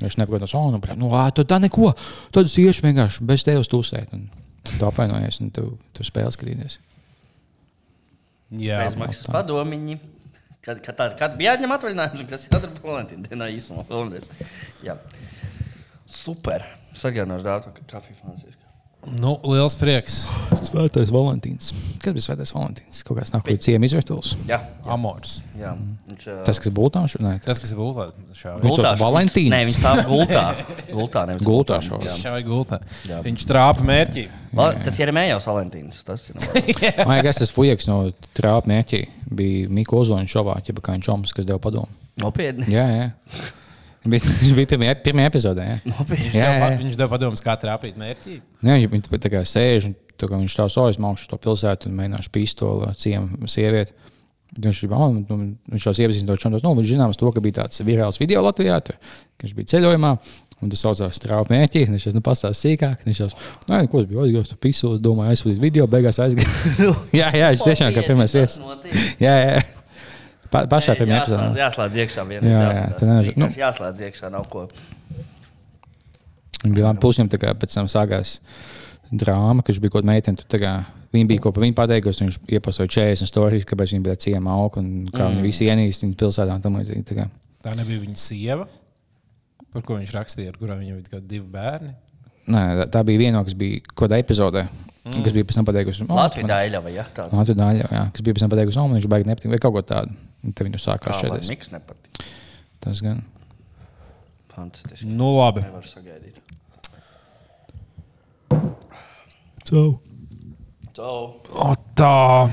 Viņš nepagodinās, oh, nu, prāt, nu, ā, tad tā neko. Tad es iešu vienkārši bez tevis tusēt. Un tu apvainojies, un tu, tu spēli skatīties.
Jā,
Bezmaksas padomiņi. Kad, kad, tā, kad bija jāņem atvaļinājums, un kas ir jādara Valentīna dienā īsumā? Vēlreiz. Jā. Super. Sagādāšu dārtu ka- kafiju Franciska.
nu, liels prieks.
Svētais Valentīns. Kad bija Svētais Valentīns? Kaut kāds nākamais ciems izvērtulis.
Jā,
Amors.
jā. Viņš, ā,
Tas, kas būtu tāds, nē,
Tas, kas ir gultā, šāvi.
Viņš
gultā
tāds
šauks.
Valentīns.
Nē, viņš stāv gultā. Gultā, nevis
Gultā
gultā.
šauks.
Jā.
Šāvi gultā. Viņš trāpa mērķi.
Val- Tas ir Mējos Valentīns. Tas ir.
man liekas, tas fujaks no trāpa mērķī bija Mikls Ozoņa šovā, ja kā viņš čoms, kas deva padomu.
Nopietni.
Jā, jā. Viņš bija- viņš bija pirmajā, pirmajā epizodē. Jā.
Nopietni.
Jā, jā, jā.
Viņš deva padomus, kā trāpīt mērķi.
Nē, viņi viņi tā kā sēž un tā kā viņš stāv sojas maukšu to pilsētu un mēģināšu pistoli ciemu sievieti. Viņš jau nu, viņš tās iepazīstina to čomu. Nu, viņš zināms to, ka bija tāds virāls video Latvijā, tur, ka viņš bija ceļojumā. Un tas saucās strāva mērķi. Viņš jau nu, pastāstīja sīkāk. Viņš jau tādu ko es biju aizgājis, tur pisos, domāju, aizsūtīt video, beigās aizgājis. jā, jā, viņš tiešām kā pirmais vietas. Jā, jā. Pa, pašā pirmajā
Jāslēdz,
epizodē.
jāslēdz iekšā vienā.
Jā, jā,
Jā,
tā než- nu.
jā. Jāslēdz iekšā nav ko.
Viņa bija laba pusņem, tā kā pēc tam sākās drāma, ka viņš bija kaut kāda meitene. tur tā kā Viņa bija kopā, viņa pateikusi, viņš iepazīstināja 40 stāstus, kāpēc viņa bija tāda ciema auga un kā mm. viņa visi ienīst viņas pilsētā un tam līdzīgi. tā kā.
Tā nebija viņa sieva, par ko viņš rakstīja, ar kurām viņam bija kaut kādi divi bērni.
Nē, tā- tā bija viena, no, kas bija kaut kādā epizodē, mm. kas bija pēc tam pateikusi, "O,
Latvija
man-
daļa vai jā, tā.
Latvija daļa, jā, kas bija pēc tam pateikusi, oh, man viņš baigi nepatīk vai kaut ko tādu. Un Tad viņa
Kā
sākās
man
šeit.
nekas nepatīk.
Tas gan.
Fantastiski.
Nu, labi.
Nevar sagaidīt. Ciao.
O, tā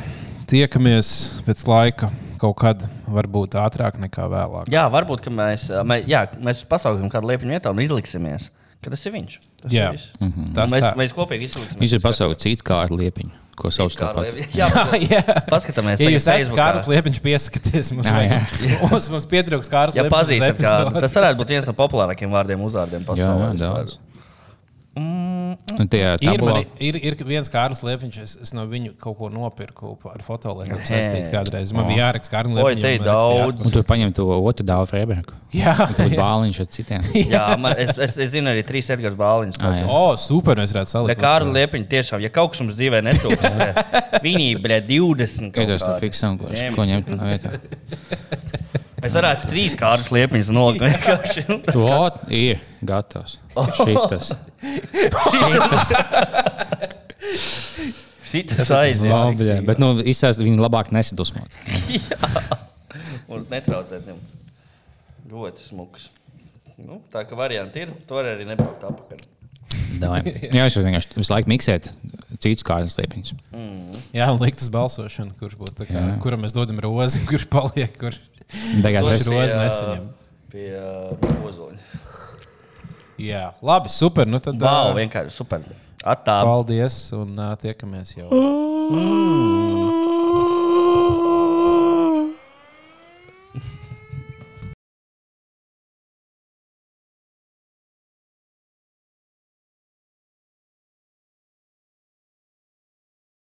tiekamies pēc laika, kaut kad varbūt ātrāk nekā vēlāk.
Jā, varbūt ka mēs, ā, mē, jā, mēs pasauksim kādu liepiņu vietā un izliksimies, ka tas ir viņš. Tas
Jā.
ir viss.
Tas
mēs,
tā.
mēs kopīgi izliksimies.
Mhm. Viņš ir pasaules citu kārtu liepiņu, ko sauc
Kā
tāpat.
liepiņu. Jā,
Jā.
paskatāmies.
Ja
tagad
jūs esat
Facebookā.
Kārs Liepiņš, piesakieties mums,
Jā, jā.
vajag- mums, mums pietrūks Kārs
Ja
Liepiņš. uz
pazīstat kādu,
epizodu.
tas varētu būt viens no populārākajiem vārdiem uzvārdiem
Jā,
pasaulē.
jā, daudz. Un tajā
Ir,
tabulā-
mani, ir, ir viens Kārs Liepiņš, es, es no viņu kaut ko nopirku pa- ar fotolēnu
Hē.
saistīt kādreiz. Man bija jāraksta Kārs
Oi,
Liepiņš.
te ir daudz.
Un tur paņem to otru dāvu Freibergu.
Jā.
Tad bāliņš ar citiem.
Jā, man, es, es, es zinu arī trīs Edgars Bāliņus.
Ā, Ah, jā.
O, super, mēs varētu
Ne
salikt.
Kārli Liepiņš tiešām, ja kaut kas mums dzīvē netrūkst, viņi bija 20. kaut
Kādos tam
kādi.
fiksam, ko,
Ņem.
ko ņemt no vietā.
Es varētu trīs kārtas liepiņas nolikt vienkārši. Nu,
Vot, ir gatavs.
Oh.
Šitas. Šitas.
Šitas aizies.
Labi, jā. bet nu, izsāst viņi labāk nesadusmot.
Un netraucēt viņam. Ļoti smuks. Nu, tā kā varianti ir, to var arī nepalikt apakaļ.
Davai. Jā, es varu vienkārši visu laiku miksēt citus kādas liepiņas.
Jā, un likt uz balsošanu, kurš būtu, tā kā, kuram mēs dodam rozi, kurš paliek, kurš
Beigās
kurš
es
rozi
Pie,
nesaņem.
Pie ā, ozoņa.
Jā, labi, super. Nu tad,
Vau,
ā,
vienkārši super. Atā.
uh, Paldies, un ā, tiekamies jau.